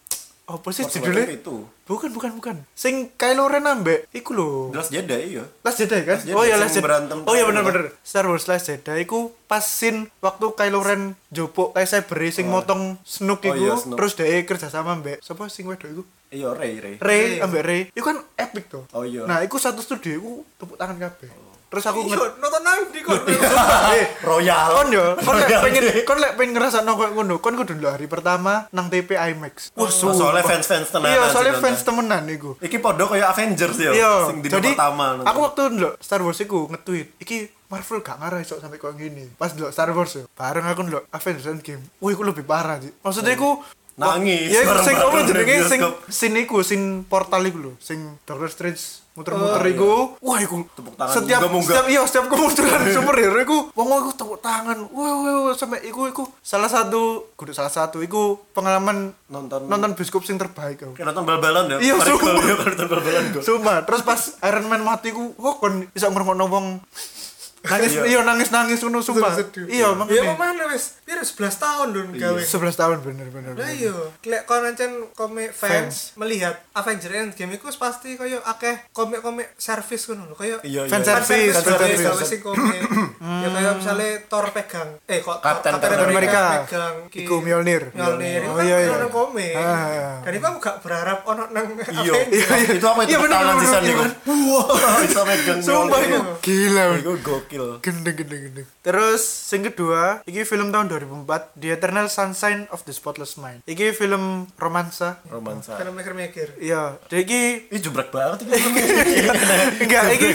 apa sih
Force
judulnya?
Awakens itu.
Bukan bukan bukan. Sing Kylo Ren ambek iku lho.
Jelas Jedi iya.
Last Jedi kan?
Last Jedi,
oh iya
sing
Last Jedi.
berantem
Oh
terakhir.
iya bener-bener. Star Wars Last Jedi iku pas scene waktu Kylo Ren jopo lightsaber sing motong Snoke
Oh
iku
iya, Snoke.
terus dhek kerja sama mbek sapa sing wedok iku?
Iya Ray Ray.
Rey
Rey.
ambek Rey. Iku kan epic tuh.
Oh iya. Oh.
Nah, iku satu studio iku tepuk tangan kabeh. Terus aku
Iya,
nge-
nonton nang di kon
Eh,
Royal.
kon yo, kon lek
Royal
pengen
Day.
kon lek pengen ngerasa nang koyo ngono, kon kudu ndelok hari pertama nang TP IMAX. Wah,
so- Oh, soalnya fans-fans tenanan
Iya,
sih
soalnya
nonton.
fans temenan iku.
Iki podo kayak Avengers ya.
Iya,
Sing dino
jadi
pertama.
aku waktu ndelok Star Wars iku nge-tweet, iki Marvel gak ngarah iso sampai kok gini. Pas ndelok Star Wars yo, bareng aku ndelok Avengers Endgame. Wih, iku lebih parah sih. Maksudnya iku
Nangis,
Ya, iku sing
bareng-bareng
apa
di
jenenge sing
bioskop.
scene iku, scene portal iku lho, sing Doctor Strange
Oh,
muter-muter iku. Wah, iku
Tepuk iya. tangan,
Setiap
munggah-munggah.
setiap iya, setiap kemunculan superhero iku wong iku tepuk tangan. Wah, wah, wah, sampai iku iku salah satu, kudu salah satu iku pengalaman
Nonton-
nonton bioskop sing terbaik aku.
Kayak nonton bal-balan ya.
Iya,
Mari
sumpah.
gol, ya, nonton bal-balan gol.
Sumpah, terus pas Iron Man mati ku, wah kon bisa ngrungokno wong nangis
Iya.
iya nangis nangis ngono sumpah. Iya,
ya
makanya
mana wis biar 11 tahun dong
Iya.
gawe
11 tahun bener bener.
Lah
bener.
iya, lek kon ancen komik
Fans.
fans, melihat Avengers Endgame iku pasti koyo akeh komik-komik service ngono lho, koyo
Iya, iya.
Fan
fan
service,
service,
fan service. Iya.
kowe sing komik. Ya koyo misale Thor pegang, eh kok
Captain
Captain
America.
pegang ki-
Iya. Iku Mjolnir.
Mjolnir.
Oh,
Oh
iya,
iya
iya.
komik.
Ah, iya.
Dan iku aku gak berharap ono nang
Iya.
Avengers.
Itu apa itu
Iya, bener,
tangan
bener,
sisan
bener,
itu. Wah, bisa megang.
Sumpah
Iya.
Mjolnir.
iku gila. men.
Iku gokil.
Gendeng gendeng gendeng. Terus sing kedua, iki film tahun 2004, The Eternal Sunshine of the Spotless Mind. Iki film romansa.
Romansa.
Karena mikir-mikir.
Iya, dia iki
Ih jebret banget iki.
Enggak, iki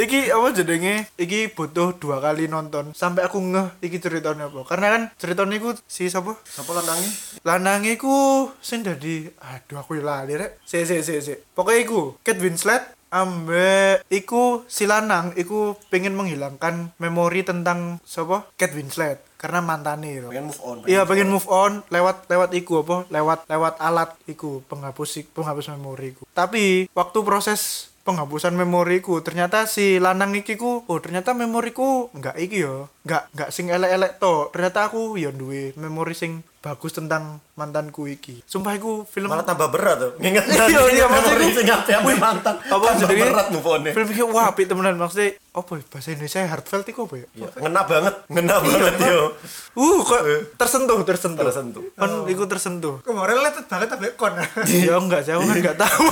iki apa jenenge? Iki butuh dua kali nonton sampai aku ngeh iki ceritanya apa. Karena kan ceritanya iku si sapa?
Siapa lanangi?
Lanang iku sing dadi aduh aku lali rek. Sik sik sik sik. Pokoke iku Kate Winslet ambek iku si lanang iku pengen menghilangkan memori tentang sapa? Kate Winslet karena mantane itu.
Pengen move on.
Iya pengen move on lewat lewat iku apa lewat lewat alat iku penghapus penghapus memori iku. Tapi waktu proses penghapusan memoriku ternyata si lanang iki ku oh ternyata memoriku nggak iki yo nggak nggak sing elek-elek to ternyata aku yo duwe memori sing bagus tentang mantanku iki sumpah iku film
malah tambah berat tuh nginget
Iya, iya, maksudnya
sing ngapain mantan
apa
tambah
jenenge?
berat move on
film iki wah apik temenan maksudnya apa ya, bahasa Indonesia heartfelt iku apa ya
ngena banget ngena banget yo
uh kok tersentuh tersentuh
Eh. Tersentuh.
kan iku tersentuh
Kemarin related banget tapi kon.
ya enggak sih aku kan enggak tahu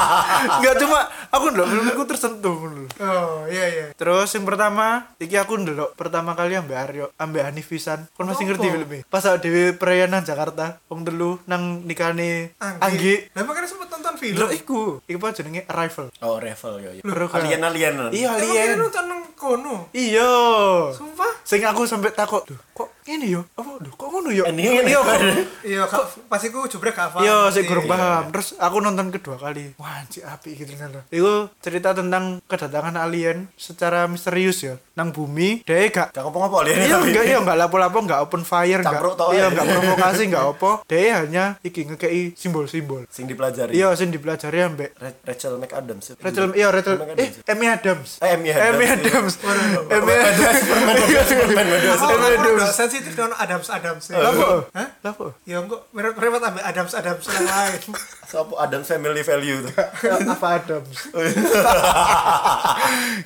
enggak cuma aku ndelok film iku tersentuh ngono lho.
oh iya iya.
Terus yang pertama, iki aku ndelok pertama kali ambek Aryo, ambek Hanif Pisan. Kon masih ngerti
Apa?
filmnya? Pas awake dhewe perayaan nang Jakarta, wong telu nang nikane Anggi. iya,
Lah makanya sempat nonton film.
Lho iku, iku apa jenenge Arrival.
oh revel yo yo
Lho, kok-
alien alien
Iya,
Emang
alien.
kita nonton nang kono.
Iya.
Sumpah.
Sing aku sampe takok, "Duh, kok ngene yo? Apa duh, kok ngono yo?"
Ini ngene.
Iya, kok-
Iya, kak, pas iku jubrek gak paham.
Iya, sik
Nanti.
gurung paham. Terus aku nonton kedua kali. Wah, anjir api gitu ternyata. Iku cerita tentang kedatangan alien secara misterius ya. Nang bumi, dia gak
gak ngopo-ngopo alien
Iya
tapi
enggak iya enggak lapo-lapo enggak open fire enggak.
Campur tau,
Iya
eh.
enggak provokasi enggak apa. Dia hanya iki ngekei simbol-simbol.
sing dipelajari
Iya sing dipelajari ambek
Ra- Rachel McAdams
Rachel iya Rachel
Emang ada
eh Amy Adams.
kan Eh, Amy Adams.
Amy Adams. Emi Adams.
Oh,
Emi
orang
Adams.
nggak sensitif dengan Adams Adams.
Iya.
Iya,
Lapo?
Hah?
Lapo?
Ya enggak, mereka mereka ambil Adams Adams yang lain.
Sopo Adams Family Value tuh.
Apa Adams?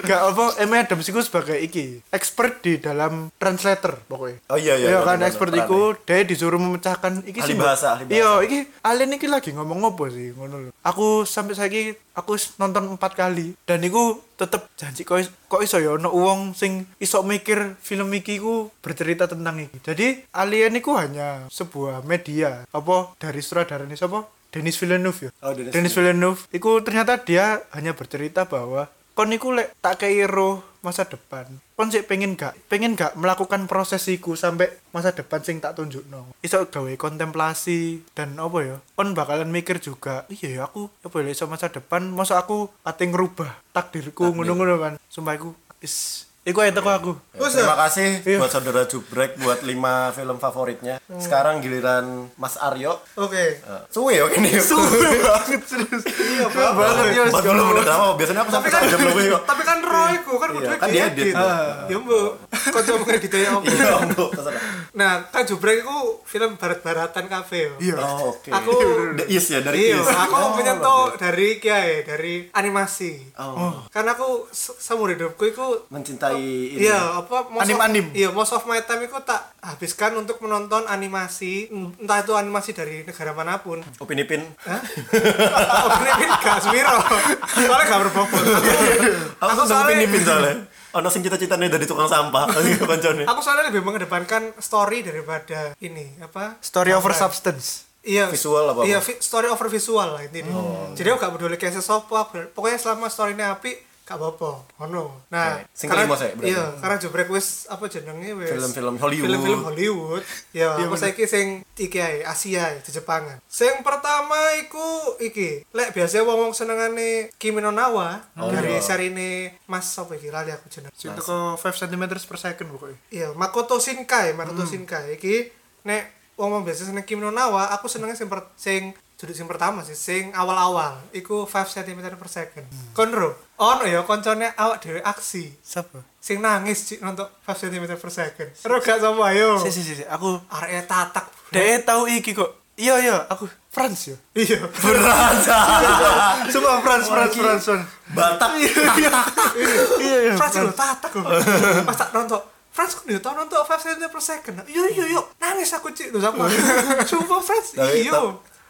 Enggak apa Amy Adams itu sebagai iki expert di dalam translator pokoknya.
Oh iya iya.
Iya kan
bener,
expert
perannya.
iku dia disuruh memecahkan iki
Ahli
sih,
bahasa,
Mbak.
ahli bahasa.
Iya, iki alien iki lagi ngomong apa sih ngono lho. Aku sampai saiki aku s- nonton empat kali dan iku tetep janji kok is- kok iso ya ono wong sing iso mikir film iki ku bercerita tentang iki. Jadi alien iku hanya sebuah media apa dari sutradaranya siapa? Denis Villeneuve ya.
Oh, Denis
Denis Villeneuve. Iku ternyata dia hanya bercerita bahwa kon iku lek tak kei roh masa depan. Kon sik pengen gak? Pengen gak melakukan proses iku sampai masa depan sing tak tunjukno. Iso gawe kontemplasi dan apa ya? Kon bakalan mikir juga, iya ya aku apa ya iso masa depan, masa aku ate ngerubah takdirku ngono-ngono kan. Sumpah iku is iku ae teko aku.
Ya, Terima kasih
Iya. Hmm.
buat saudara Jubrek buat 5 film favoritnya. Sekarang giliran Mas Aryo.
Oke.
Eh, Suwe yo kene.
Sumpah banget serius. Iya banget ya.
Empat puluh menit lama. Biasanya aku
Tapi
sampai
kan
satu jam lebih kok.
tapi kan Roy ku kan
Iya,
kudu
kan
diedit.
diedit.
Ah. Ya mbok. Kok coba ngedit ya apa?
Iya, Bu. Terserah.
Nah, kan jubrek iku film barat-baratan kafe. yo.
Iya.
Oh, oke.
Aku
The Is ya dari
Iya,
Is.
aku menyentuh dari kiai, dari animasi.
Oh.
Karena aku se- seumur hidupku itu
Mencintai ini.
Iya, apa most of-
Anim-anim.
Iya, most of my time itu tak habiskan untuk menonton animasi, entah itu animasi dari negara manapun.
Upin Ipin.
Hah? Oh, Gripin gak Swiro. Soalnya gak berbobot.
Aku
Aku
seneng Upin
soalnya
Ipin soalnya. Ono sing cita-citane dari tukang sampah. gitu Kancane.
aku soalnya lebih mengedepankan story daripada ini apa?
Story over substance.
Iya,
Visual apa-apa? Oh, iya.
Iya, vi- story over visual lah intinya. Jadi aku gak peduli kayak sesopo, aku- pokoknya selama storynya api gak apa-apa. Ono. Nah,
Oke. Sing kelima saya, berarti.
Iya, karena Jobrek wis apa jenenge wis
Film-film Hollywood. Iya,
Film-film Hollywood. Ya, aku saiki sing iki ae, Asia ae, di Jepangan. Sing pertama iku iki. Lek biasa wong-wong senengane Kimi no Na wa dari
iya.
serine Mas sapa iki lali aku jeneng.
Sing teko 5 cm per second pokoknya.
Iya, Makoto Shinkai, Makoto
Hmm.
Shinkai iki nek wong wong biasa seneng Kimi no Na wa, aku senenge sing per, sing judul sing pertama sih, sing awal-awal iku 5 cm per second.
Hmm.
Konro, ono ya koncone awak dhewe aksi.
Siapa?
Sing nangis cik nonton 5 cm per second. Ero gak sama ayo.
Si si si, si. aku
Arek tatak.
Dek tahu iki kok. Iya iya, aku France yo.
Iya.
Berasa.
Sumpah France France
iki.
France. France.
Batak.
Iya iya.
Frans lho tatak lho. Pas tak nonton Frans kok dia tau nonton 5 cm per second. Yo yo yo nangis aku cik lho sama. Sumpah Frans.
Tapi-
Iya.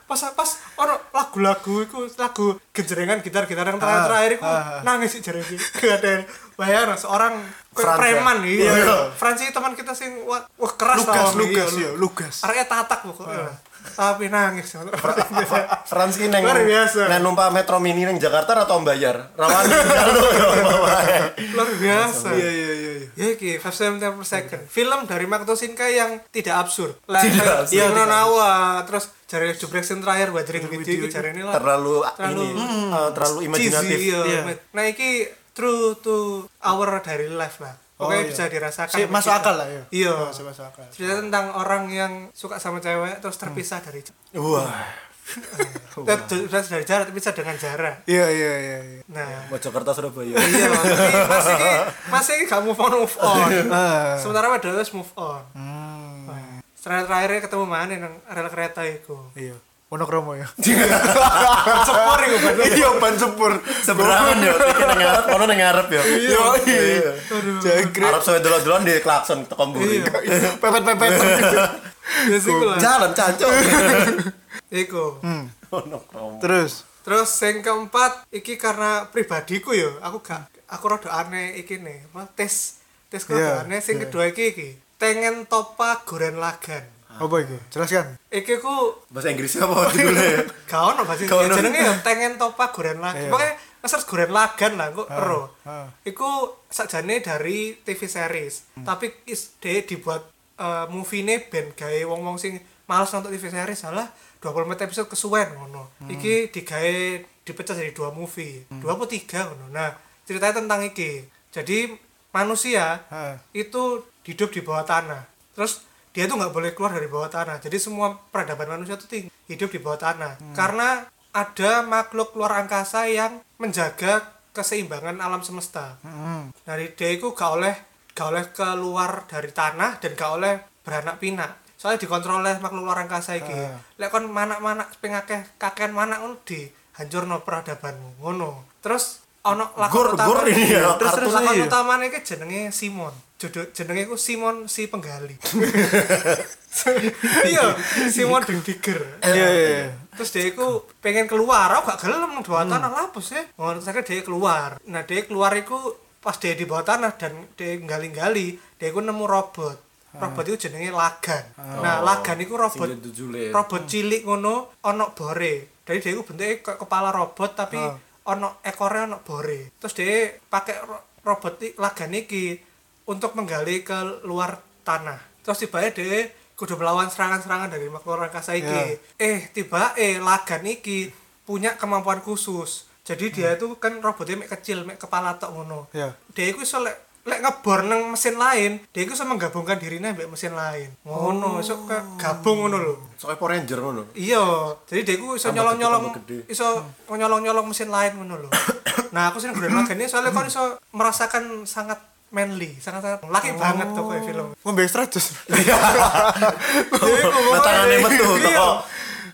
Pas pas ono lagu-lagu iku lagu genjerengan gitar-gitar yang terakhir-terakhir iku nangis sih jare iki. Gak ada yang- bayar seorang
Frans, ya?
preman iki.
Iya.
Frans iki teman kita sing wah wah, keras
Lugas
lawan,
Lugas
iya.
yo, Lugas.
Arek tatak pokoknya. iya. Tapi nangis. Iya.
Frans ki neng
Luar biasa. Iya,
neng numpak metro mini neng Jakarta atau bayar? Rawan Jalu, yo, bawae.
Luar biasa.
Iya iya iya
Ya
iya.
iki 5 cm per second. Film dari Makoto Shinkai yang tidak absurd. Lah
Tidak
kayak
absurd.
Iya, Bruno Nawa, terus jare Jubrek sing terakhir Wuthering Video iki jare ini lah.
terlalu
Terlalu- hmm.
ini eh, terlalu imajinatif.
cheesy,
Iya.
iya. Nah iki true to our daily life lah.
Oh,
Pokoknya
iya.
bisa dirasakan.
Si,
sama
masuk
kita.
akal lah ya.
Iya.
masuk akal. Hmm. Oh,
Cerita tentang orang yang suka sama cewek terus terpisah dari
Wah,
Terus dari jarak tapi bisa dengan jarak.
iya iya iya iya.
Nah,
Mojokerto Surabaya.
iya Mas. Ini Mas ini Mas ini gak move on move on.
Ah.
Sementara padahal wis move on.
Hmm,
Terakhir terakhir ketemu mana nang rel kereta iku.
iya monokromo ya
Cepor iku Mas.
iya ban sepur
Seberangan ya, iki nang ngarep, ono nang ngarep ya. Iya.
jangkrik
Arab sampe delok-delok di klakson teko mburi.
Iya.
pepet pepet
Ya sih iku lah.
Jalan cancok.
Iku.
Hmm.
Ono kromo.
terus
Terus yang keempat iki karena pribadiku ya, aku gak aku rada aneh iki nih. Apa, Tes tes aku
Iya,
rada aneh. Sing
iya.
kedua iki iki. Tengen topa goren lagan.
apa itu jelaskan
Iki ku
Bahasa Inggris apa judulnya ya?
gak ono bahasa ya,
Gak ono.
jenenge ya tengen topa goren lagan.
Iya.
Pokoknya ngeser goren lagan lah kok ero.
ah. Hmm.
Iku sakjane dari TV series, tapi is de dibuat eh, movie-ne ben gawe wong-wong sing males nonton TV series salah 20 menit episode kesuwen ngono.
Hmm.
Iki digawe dipecah jadi dua movie, dua apa tiga ngono. Nah, ceritanya tentang iki. Jadi manusia
Ah.
itu hidup di bawah tanah. Terus dia tuh nggak boleh keluar dari bawah tanah. Jadi semua peradaban manusia tuh ting- hidup di bawah tanah. Karena ada makhluk luar angkasa yang menjaga keseimbangan alam semesta. Hmm. Dari dia itu gak oleh gak oleh keluar dari tanah dan gak oleh beranak pinak. Soalnya dikontrol oleh makhluk luar angkasa iki.
Ah.
Lek kon manak-manak pengakeh kakean manak ngono di hancurno peradabanmu ngono. Terus ono
Gur- gur ini ya,
terus
artus
terus lakon
aja.
utamane iki jenenge Simon. Jodoh jenenge ku Simon si penggali. iya, Simon the Digger.
iya iya iya.
Terus dia iku pengen keluar, aku gak gelem nang bawah tanah lapus ya. Ngono terus akhirnya dia keluar. Nah, dia keluar iku pas dia di bawah tanah dan dia nggali-nggali, dia iku nemu robot. Robot itu jenenge Lagan. Nah, Lagan iku robot
Sing judulnya.
robot cilik ngono ana bore. Jadi dia iku bentuke kayak kepala robot tapi ana ekornya ana bore. Terus dia pakai ro- robot i- Lagan iki untuk menggali ke luar tanah. Terus tiba-tiba dia kudu melawan serangan-serangan dari makhluk luar angkasa iki. Eh,
Iya.
tiba eh Lagan iki punya kemampuan khusus. Jadi dia itu kan robotnya mek kecil, mek kepala tok ngono.
Iya.
Dia iku iso lek lek ngebor nang mesin lain, dia iku iso menggabungkan dirinya mbek mesin lain. Ngono, iso ke gabung ngono lho.
Soalnya Power Ranger ngono.
Iya, jadi dia iku iso
Tambah
nyolong-nyolong
gede, tambah gede.
iso nyolong-nyolong mesin lain ngono lho. nah, aku sering Grand Lagan ini soalnya kon iso merasakan sangat manly, sangat-sangat laki banget pokoknya film.
ngombe extra jus
Matangane Nah, metu teko.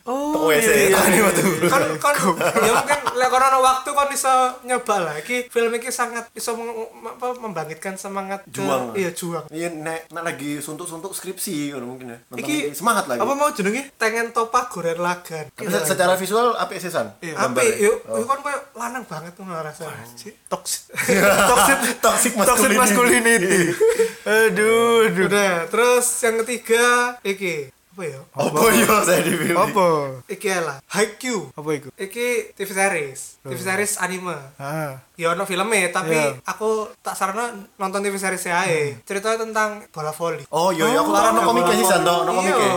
Oh,
Teko
iya,
WC. Matangane metu.
kan kan ya mungkin lek kon ono waktu kon iso nyoba lah iki film iki sangat iso meng- apa, membangkitkan semangat ke-
Juang.
iya juang
Iya nek nek lagi suntuk-suntuk skripsi ngono mungkin ya. Tentang
Iki-
ini. semangat lagi.
apa mau jenenge
tengen topa goren lagan
Tapi se- secara Oh. visual apik sih San. ya?
api Iya. yuk yuk kan koyo lanang banget ngono rasanya
Oh.
toxic
Toxic toxic
toxic
masculinity.
masculinity aduh aduh
udah terus yang ketiga iki apa ya
Apa yo saya di film.
apa
iki ae lah Haikyuu
apa itu
iki TV series TV series anime
ah
ya ono filmnya tapi
Iya. Hmm.
aku tak saran nonton TV series ae ceritanya tentang bola volley
Oh
iya,
yo yo aku
Oh,
taruh no komik sih San, no no
iya.
komik.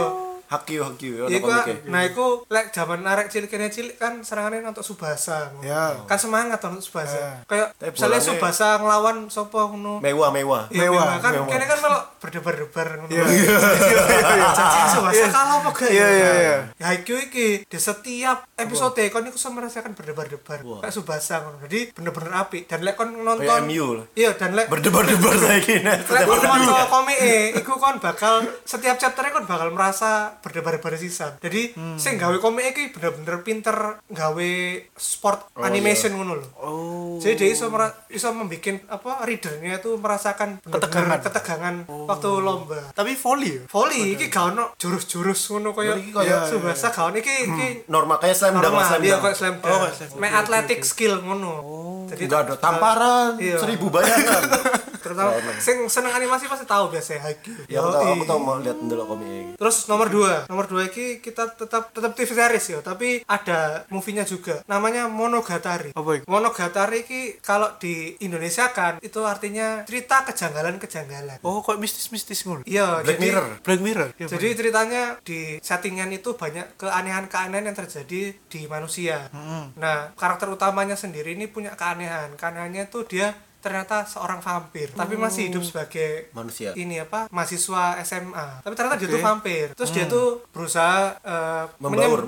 Hakyu hakyu yo no
Iya gua,
komik.
nah iku lek zaman arek cilik kene cilik kan serangannya nonton Subasa. ngono.
Ya.
Kan semangat nonton
Iya.
Subasa. Kayak
Tapi
misalnya
bolanya-
Subasa nglawan sapa ngono.
Mewah mewah.
Ya,
Mewah,
memang. kan
mewah.
kene kan malah berdebar-debar ngono.
iya iya iya
Jadi Subasa kalah apa gak?
Iya, iya, iya.
Ya Haikyuu iki di setiap episode kon iku iso merasakan berdebar-debar. Kayak Subasa ngono. Jadi bener-bener apik dan lek kon nonton
Kayak MU lah.
Iya, dan lek
Berdebar-debar saya gini.
Lek kon maca komik e, iku kon bakal setiap chapternya kon bakal merasa berdebar-debar sisan. Jadi
Hmm.
sing gawe komik iki bener-bener pinter gawe sport
iya.
animation ngono lho.
oh
Jadi dia iso mera- iso membikin apa readernya tuh merasakan bener-bener ketegangan
Oh.
waktu lomba.
tapi volley ya
Volley iki gak ono jurus-jurus ngono kaya
Iki kaya- Hmm.
Subasa gak ono iki iki
Norma kayak slam dunk
normal
slam Oh,
dia
dunk. Oh.
kayak slam dunk. Main athletic skill ngono. Jadi
Enggak ada tamparan
Iya.
seribu bayangan.
terutama sing seneng animasi pasti tahu biasanya Haikyuu.
Ya aku tau,
Yoi.
aku tau mau lihat ndelok komik.
Terus nomor 2. Nomor 2 iki kita tetap tetap TV series ya, tapi ada movie-nya juga. Namanya Monogatari.
Apa itu?
Monogatari iki kalau di Indonesia kan itu artinya cerita kejanggalan-kejanggalan.
oh kok mistis mistis ngono
Iya,
Black
jadi
Mirror.
Black Mirror Iya,
Jadi ceritanya di settingan itu banyak keanehan-keanehan yang terjadi di manusia. Nah, karakter utamanya sendiri ini punya keanehan. Keanehannya itu dia ternyata seorang vampir tapi masih hidup sebagai
Manusia.
ini apa mahasiswa SMA tapi ternyata dia
Oke.
tuh vampir terus dia tuh berusaha eh,
Membaur,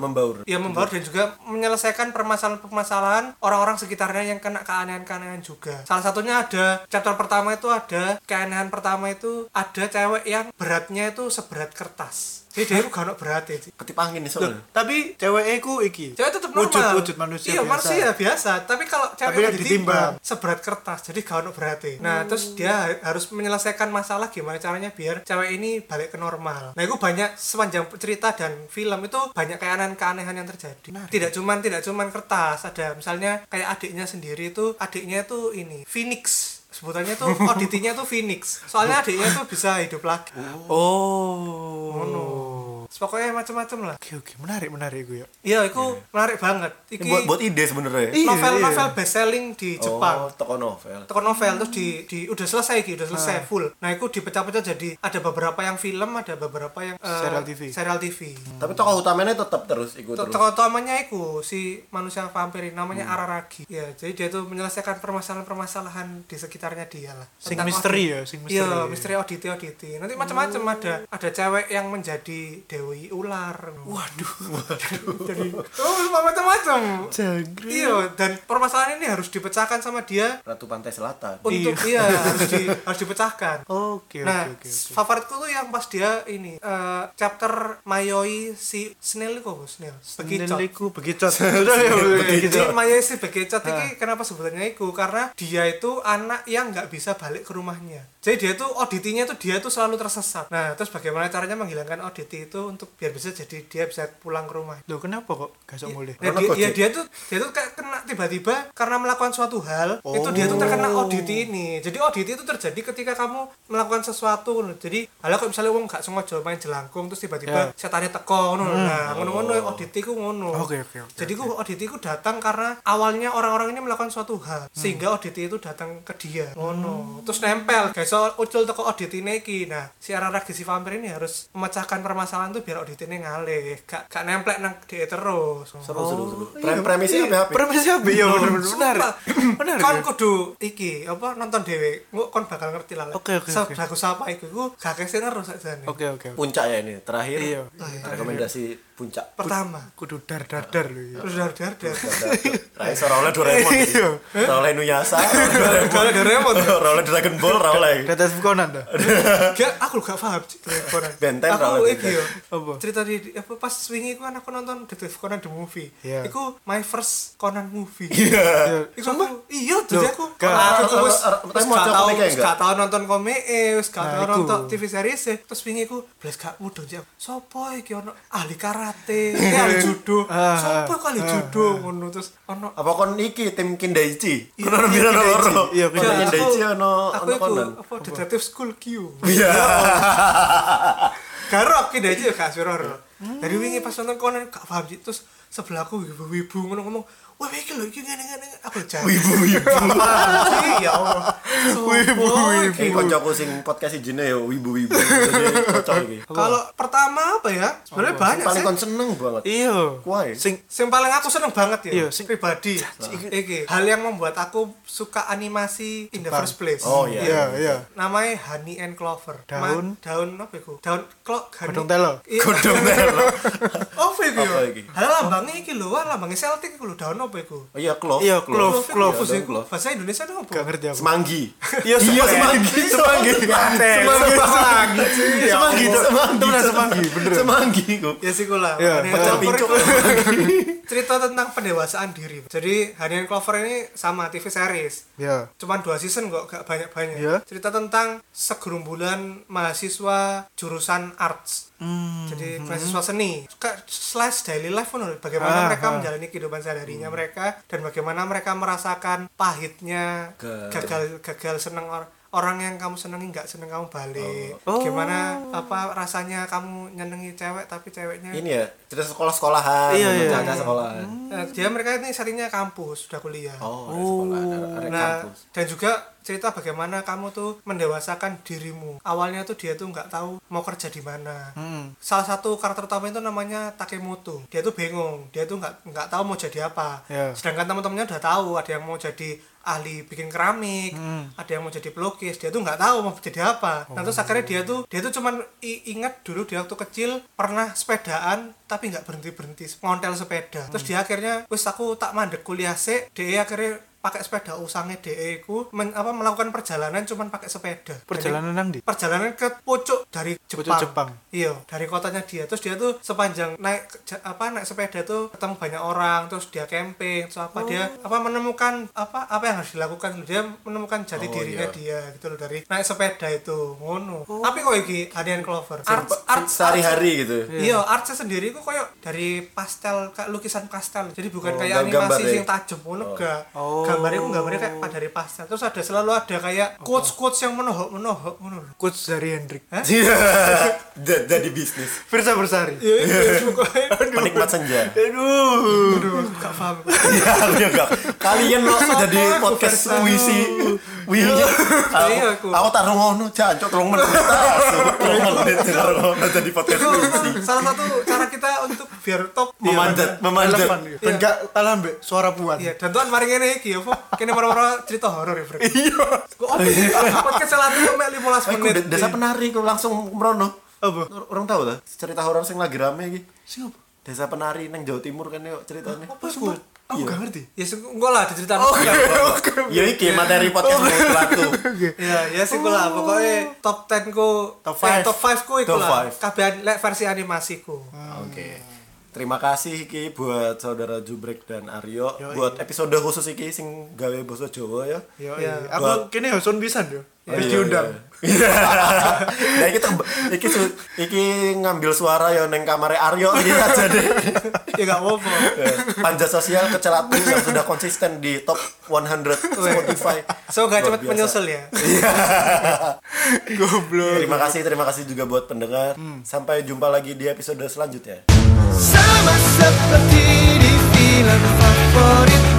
menyem-
membaur.
ya membaur dan juga menyelesaikan permasalahan-permasalahan orang-orang sekitarnya yang kena keanehan-keanehan juga salah satunya ada chapter pertama itu ada keanehan pertama itu ada cewek yang beratnya itu seberat kertas jadi dia itu gak ada berat ya, itu
Ketip angin nih soalnya.
Tapi cewek ku iki.
cewek tetap normal
Wujud wujud manusia
iya,
biasa.
manusia biasa tapi kalau cewek
Tapi Hmm. kan
itu
ditimbang.
seberat kertas jadi gak ono berarti nah terus dia ha- harus menyelesaikan masalah gimana caranya biar cewek ini balik ke normal nah itu banyak sepanjang cerita dan film itu banyak keanehan-keanehan yang terjadi tidak cuman tidak cuman kertas ada misalnya kayak adiknya sendiri itu adiknya itu ini phoenix sebutannya tuh auditinya tuh phoenix soalnya adiknya tuh bisa hidup lagi
Oh.
Terus pokoknya macam-macam lah
Oke oke menarik menarik gue ya.
iya itu menarik banget
Ini
Iki
buat buat ide sebenarnya.
Iya,
novel
iya.
novel best selling di Jepang
Oh, toko novel.
toko novel terus di, di udah selesai gitu udah selesai
Ah.
full nah itu dipecah-pecah jadi ada beberapa yang film ada beberapa yang eh,
Serial Hmm, TV.
serial TV
Tapi tokoh utamanya tetap terus ikut terus.
tokoh utamanya itu si manusia vampir ini,
Hmm.
namanya Araragi ya jadi dia tuh menyelesaikan permasalahan-permasalahan di sekitarnya dia lah
Sing
Tentang
misteri
audit.
ya, sing misteri. Oh.
iya misteri auditi auditi nanti macam-macam ada ada cewek yang menjadi dewi ular waduh waduh jadi oh macam-macam
Jagre.
iya dan permasalahan ini harus dipecahkan sama dia
Ratu Pantai Selatan.
untuk iya harus, di- harus dipecahkan
Oke oke
nah,
oke. oke.
favoritku tuh yang pas dia ini eh, chapter Mayoi si Snail kok Snail. Bekicot.
Seneliku begicot. Udah ya, udah,
Jadi
begicot. Ah.
Mayoi si Bekicot ini kenapa sebutannya itu? Karena dia itu anak yang nggak bisa balik ke rumahnya. Jadi dia tuh auditinya tuh dia tuh selalu tersesat. Nah, terus bagaimana caranya menghilangkan auditi itu untuk biar bisa jadi dia bisa pulang ke rumah.
Loh kenapa kok gak sok mulai?
Ya,
Karena
dia,
Gojek.
ya, dia tuh dia tuh kayak kena tiba-tiba karena melakukan suatu hal itu dia tuh terkena
Oh.
audit ini jadi audit itu terjadi ketika kamu melakukan sesuatu ngono. jadi kalau kalau misalnya wong gak sengaja main jelangkung terus tiba-tiba
Ya.
setannya teko ngono nah ngono-ngono audit iku ngono
Hmm. Oke, oke, oke,
jadi ku audit iku datang karena awalnya orang-orang ini melakukan suatu hal
Hmm.
sehingga audit itu datang ke dia ngono terus nempel guys so ucul teko audit ini iki nah si arah-arah si vampir ini harus memecahkan permasalahan tuh biar audit ini ngalih gak gak nemplek nang dia terus
Seru seru seru.
Oh, iya.
Prem premisnya apa? apa?
Premisnya apa? Ya bener bener
Sumpah. Kan
menarik. Menarik.
Kon
ya.
kudu iki apa nonton dhewe. Engko kon bakal ngerti lah.
Oke, oke, oke.
Sebagus apa iku iku gak kesener sakjane.
Oke oke. oke.
Puncak ya ini. Terakhir.
Iya.
Rekomendasi puncak.
Pertama,
Kudu dar dar dar loh.
terus dar dar dar.
Rai ora oleh Doraemon.
Iya.
Ora oleh Nuyasha. Ora
Kalau dari remote
oleh Dragon Ball, ora oleh.
Detektif Conan dah.
gak aku gak paham Cik, Detektif Conan.
Benten
aku
rawan
iki yo.
Apa?
Cerita di apa pas wingi iku kan aku nonton Detektif Conan the movie.
Iya.
Iku my first Conan movie.
Iya.
Iku aku, iya jadi
Loh,
aku
gak-
aku tuh wis
Tapi
wis
mau
gak
coba
tau
komiknya
wis
enggak?
gak tau nonton komik eh wis gak
Nah,
tau
iku.
nonton TV series eh. terus wingi aku blas gak mudun sih aku. Sopo iki ono ahli karate, eh, ahli judo.
Ah,
Sopo iku ahli judo ngono terus ono
Apa kon iki tim Kindaichi?
Iya,
Kono
tim
biro
Kindaichi.
loro.
Iya,
Tim
bener.
Kindaichi ono
aku
ono
iku
konon.
apa detektif school Q.
Iya.
Garok ki aja gak sira ro. Dari wingi pas nonton Conan gak paham sih terus sebelahku wibu-wibu ngono ngomong, "Wah, iki lho iki ngene-ngene aku jan."
Wibu-wibu.
Ya Allah. Wibu-wibu.
Iki kancaku sing podcast ijine ya wibu-wibu. Jadi cocok iki.
Kalau pertama apa ya? Sebenarnya banyak
Paling
sih.
kon seneng banget.
Iya.
Kuai.
Sing
Yang paling aku seneng banget ya.
Iya, sing-
pribadi. Iki hal yang membuat aku suka animasi in the
Jepang.
first place.
Oh, iya.
iya iya.
Namanya Honey and Clover.
Daun?
daun apa iku? Daun klok
Godong telo.
Iya.
Godong telo.
Apa iku?
Apa
ya?
iki?
Hal lambangnya iki lho, wah lambangnya Celtic iku lho, daun apa iku?
Oh iya, Clove.
Iya,
Clove,
Clove.
clove,
Iya, daun
iku.
clove.
Bahasa Indonesia itu apa?
Gak ngerti aku.
Semanggi.
Iya,
semanggi, semanggi.
Iya,
Semanggi, semanggi.
Iya,
Semanggi, semanggi, semanggi, bener. Semanggi, kok.
Ya sih kula.
Iya,
Honey and
Pecah
Clover
pincuk.
iku- cerita tentang pendewasaan diri. Jadi Honey and Clover ini sama TV series.
Iya.
Cuman dua season kok, gak banyak-banyak.
Iya.
Cerita tentang segerombolan mahasiswa jurusan arts.
Hmm,
Jadi mahasiswa seni. Kayak Slash daily life pun bagaimana
Ah,
mereka
ah. Hmm.
menjalani kehidupan sehari-harinya mereka dan bagaimana mereka merasakan pahitnya
Ke-
gagal gagal seneng or- orang yang kamu senengi nggak seneng kamu balik.
Oh.
Gimana apa rasanya kamu nyenengi cewek tapi ceweknya
Ini ya, cerita sekolah-sekolahan.
Iya, iya.
Cerita sekolah.
Eh, Nah, dia mereka ini settingnya kampus sudah kuliah
Oh, ada sekolah, ada ada
nah
kampus.
dan juga cerita bagaimana kamu tuh mendewasakan dirimu awalnya tuh dia tuh nggak tahu mau kerja di mana
Hmm.
salah satu karakter utama itu namanya Takemoto dia tuh bingung dia tuh nggak nggak tahu mau jadi apa
Ya.
sedangkan teman-temannya udah tahu ada yang mau jadi ahli bikin keramik
Hmm.
ada yang mau jadi pelukis dia tuh nggak tahu mau jadi apa nah
Oh.
terus akhirnya dia tuh dia tuh cuman i- ingat dulu dia waktu kecil pernah sepedaan tapi nggak berhenti berhenti ngontel sepeda
Hmm.
terus dia akhirnya wis aku tak mandek kuliah sih dia akhirnya pakai sepeda usangnya DE ku men- apa melakukan perjalanan cuman pakai sepeda
Perjalanan nang ndi?
perjalanan ke pucuk dari Jepang.
Jepang.
Iya, dari kotanya dia. Terus dia tuh sepanjang naik ke- ja- apa naik sepeda tuh ketemu banyak orang, terus dia camping, terus apa dia apa menemukan apa apa yang harus dilakukan dia menemukan jati
Oh,
dirinya
iya.
dia gitu loh dari naik sepeda itu ngono. Tapi kok iki harian Clover. Art art
sehari-hari gitu
Iya, artnya sendiri kok kayak dari pastel, kayak lukisan pastel. Jadi bukan
Oh,
kayak
gam- gambar
animasi
ya?
yang tajam ngono enggak.
Oh.
Gambarnya kok gambarnya kayak dari pastel. Terus ada selalu ada kayak quotes-quotes yang menohok-menohok Iya, ngono loh.
Coach dari Hendrik.
Ja- jadi bisnis
Firsa Bersari.
Ya, itu pokoknya.
penikmat senja
Aduh.
Aduh, gak paham.
Iya, iya, enggak. kalian lo jadi
Apa aku
podcast
versi?
puisi Wih,
Iya,
aku,
aku.
aku tak rungono, jancok rong menit. Rong menit tak rungono jadi podcast puisi.
Salah satu cara kita untuk biar top
Memanjat, memanjat.
Elemen. Ben gak talan mbek suara puan.
Iya, dan tuan mari ngene iki opo? Kene moro-moro cerita horor ya, Bro. Iya. Kok opo? Podcast selatan kok mek 15
Aku
menit. Iya.
de- desa penari, aku langsung merono.
Apa?
Orang tahu lah, cerita horor sing lagi rame iki.
Sing apa?
Desa penari nang Jawa Timur kan yuk ceritanya.
Apa sih, Bro?
Aku
Iya.
gak ngerti.
Ya sing- enggak lah diceritain.
Oh.
Ya iki materi podcast mulatu.
Iya, ya sih kula pokoknya top 10 ku
Top
eh,
five.
top 5 ku iku
Oh. Top
lah.
five. Oh,
Kabehan lek versi animasiku.
Oke. Terima kasih iki buat saudara Jubrek dan Aryo
Yoi.
buat episode khusus iki sing gawe basa Jawa ya.
Yo,
Iya.
iya. Aku kene yo son pisan yo. Wis diundang.
Iya. Nah, iki tem- iki su- iki ngambil suara ya neng kamare Aryo iki aja deh.
Ya gak apa-apa.
Panja sosial kecelatu yang sudah konsisten di top 100 Spotify.
So gak
Luar
cepet
biasa.
menyusul ya.
Goblok.
Terima kasih, terima kasih juga buat pendengar. Sampai jumpa lagi di episode selanjutnya.
Sama seperti di film favorit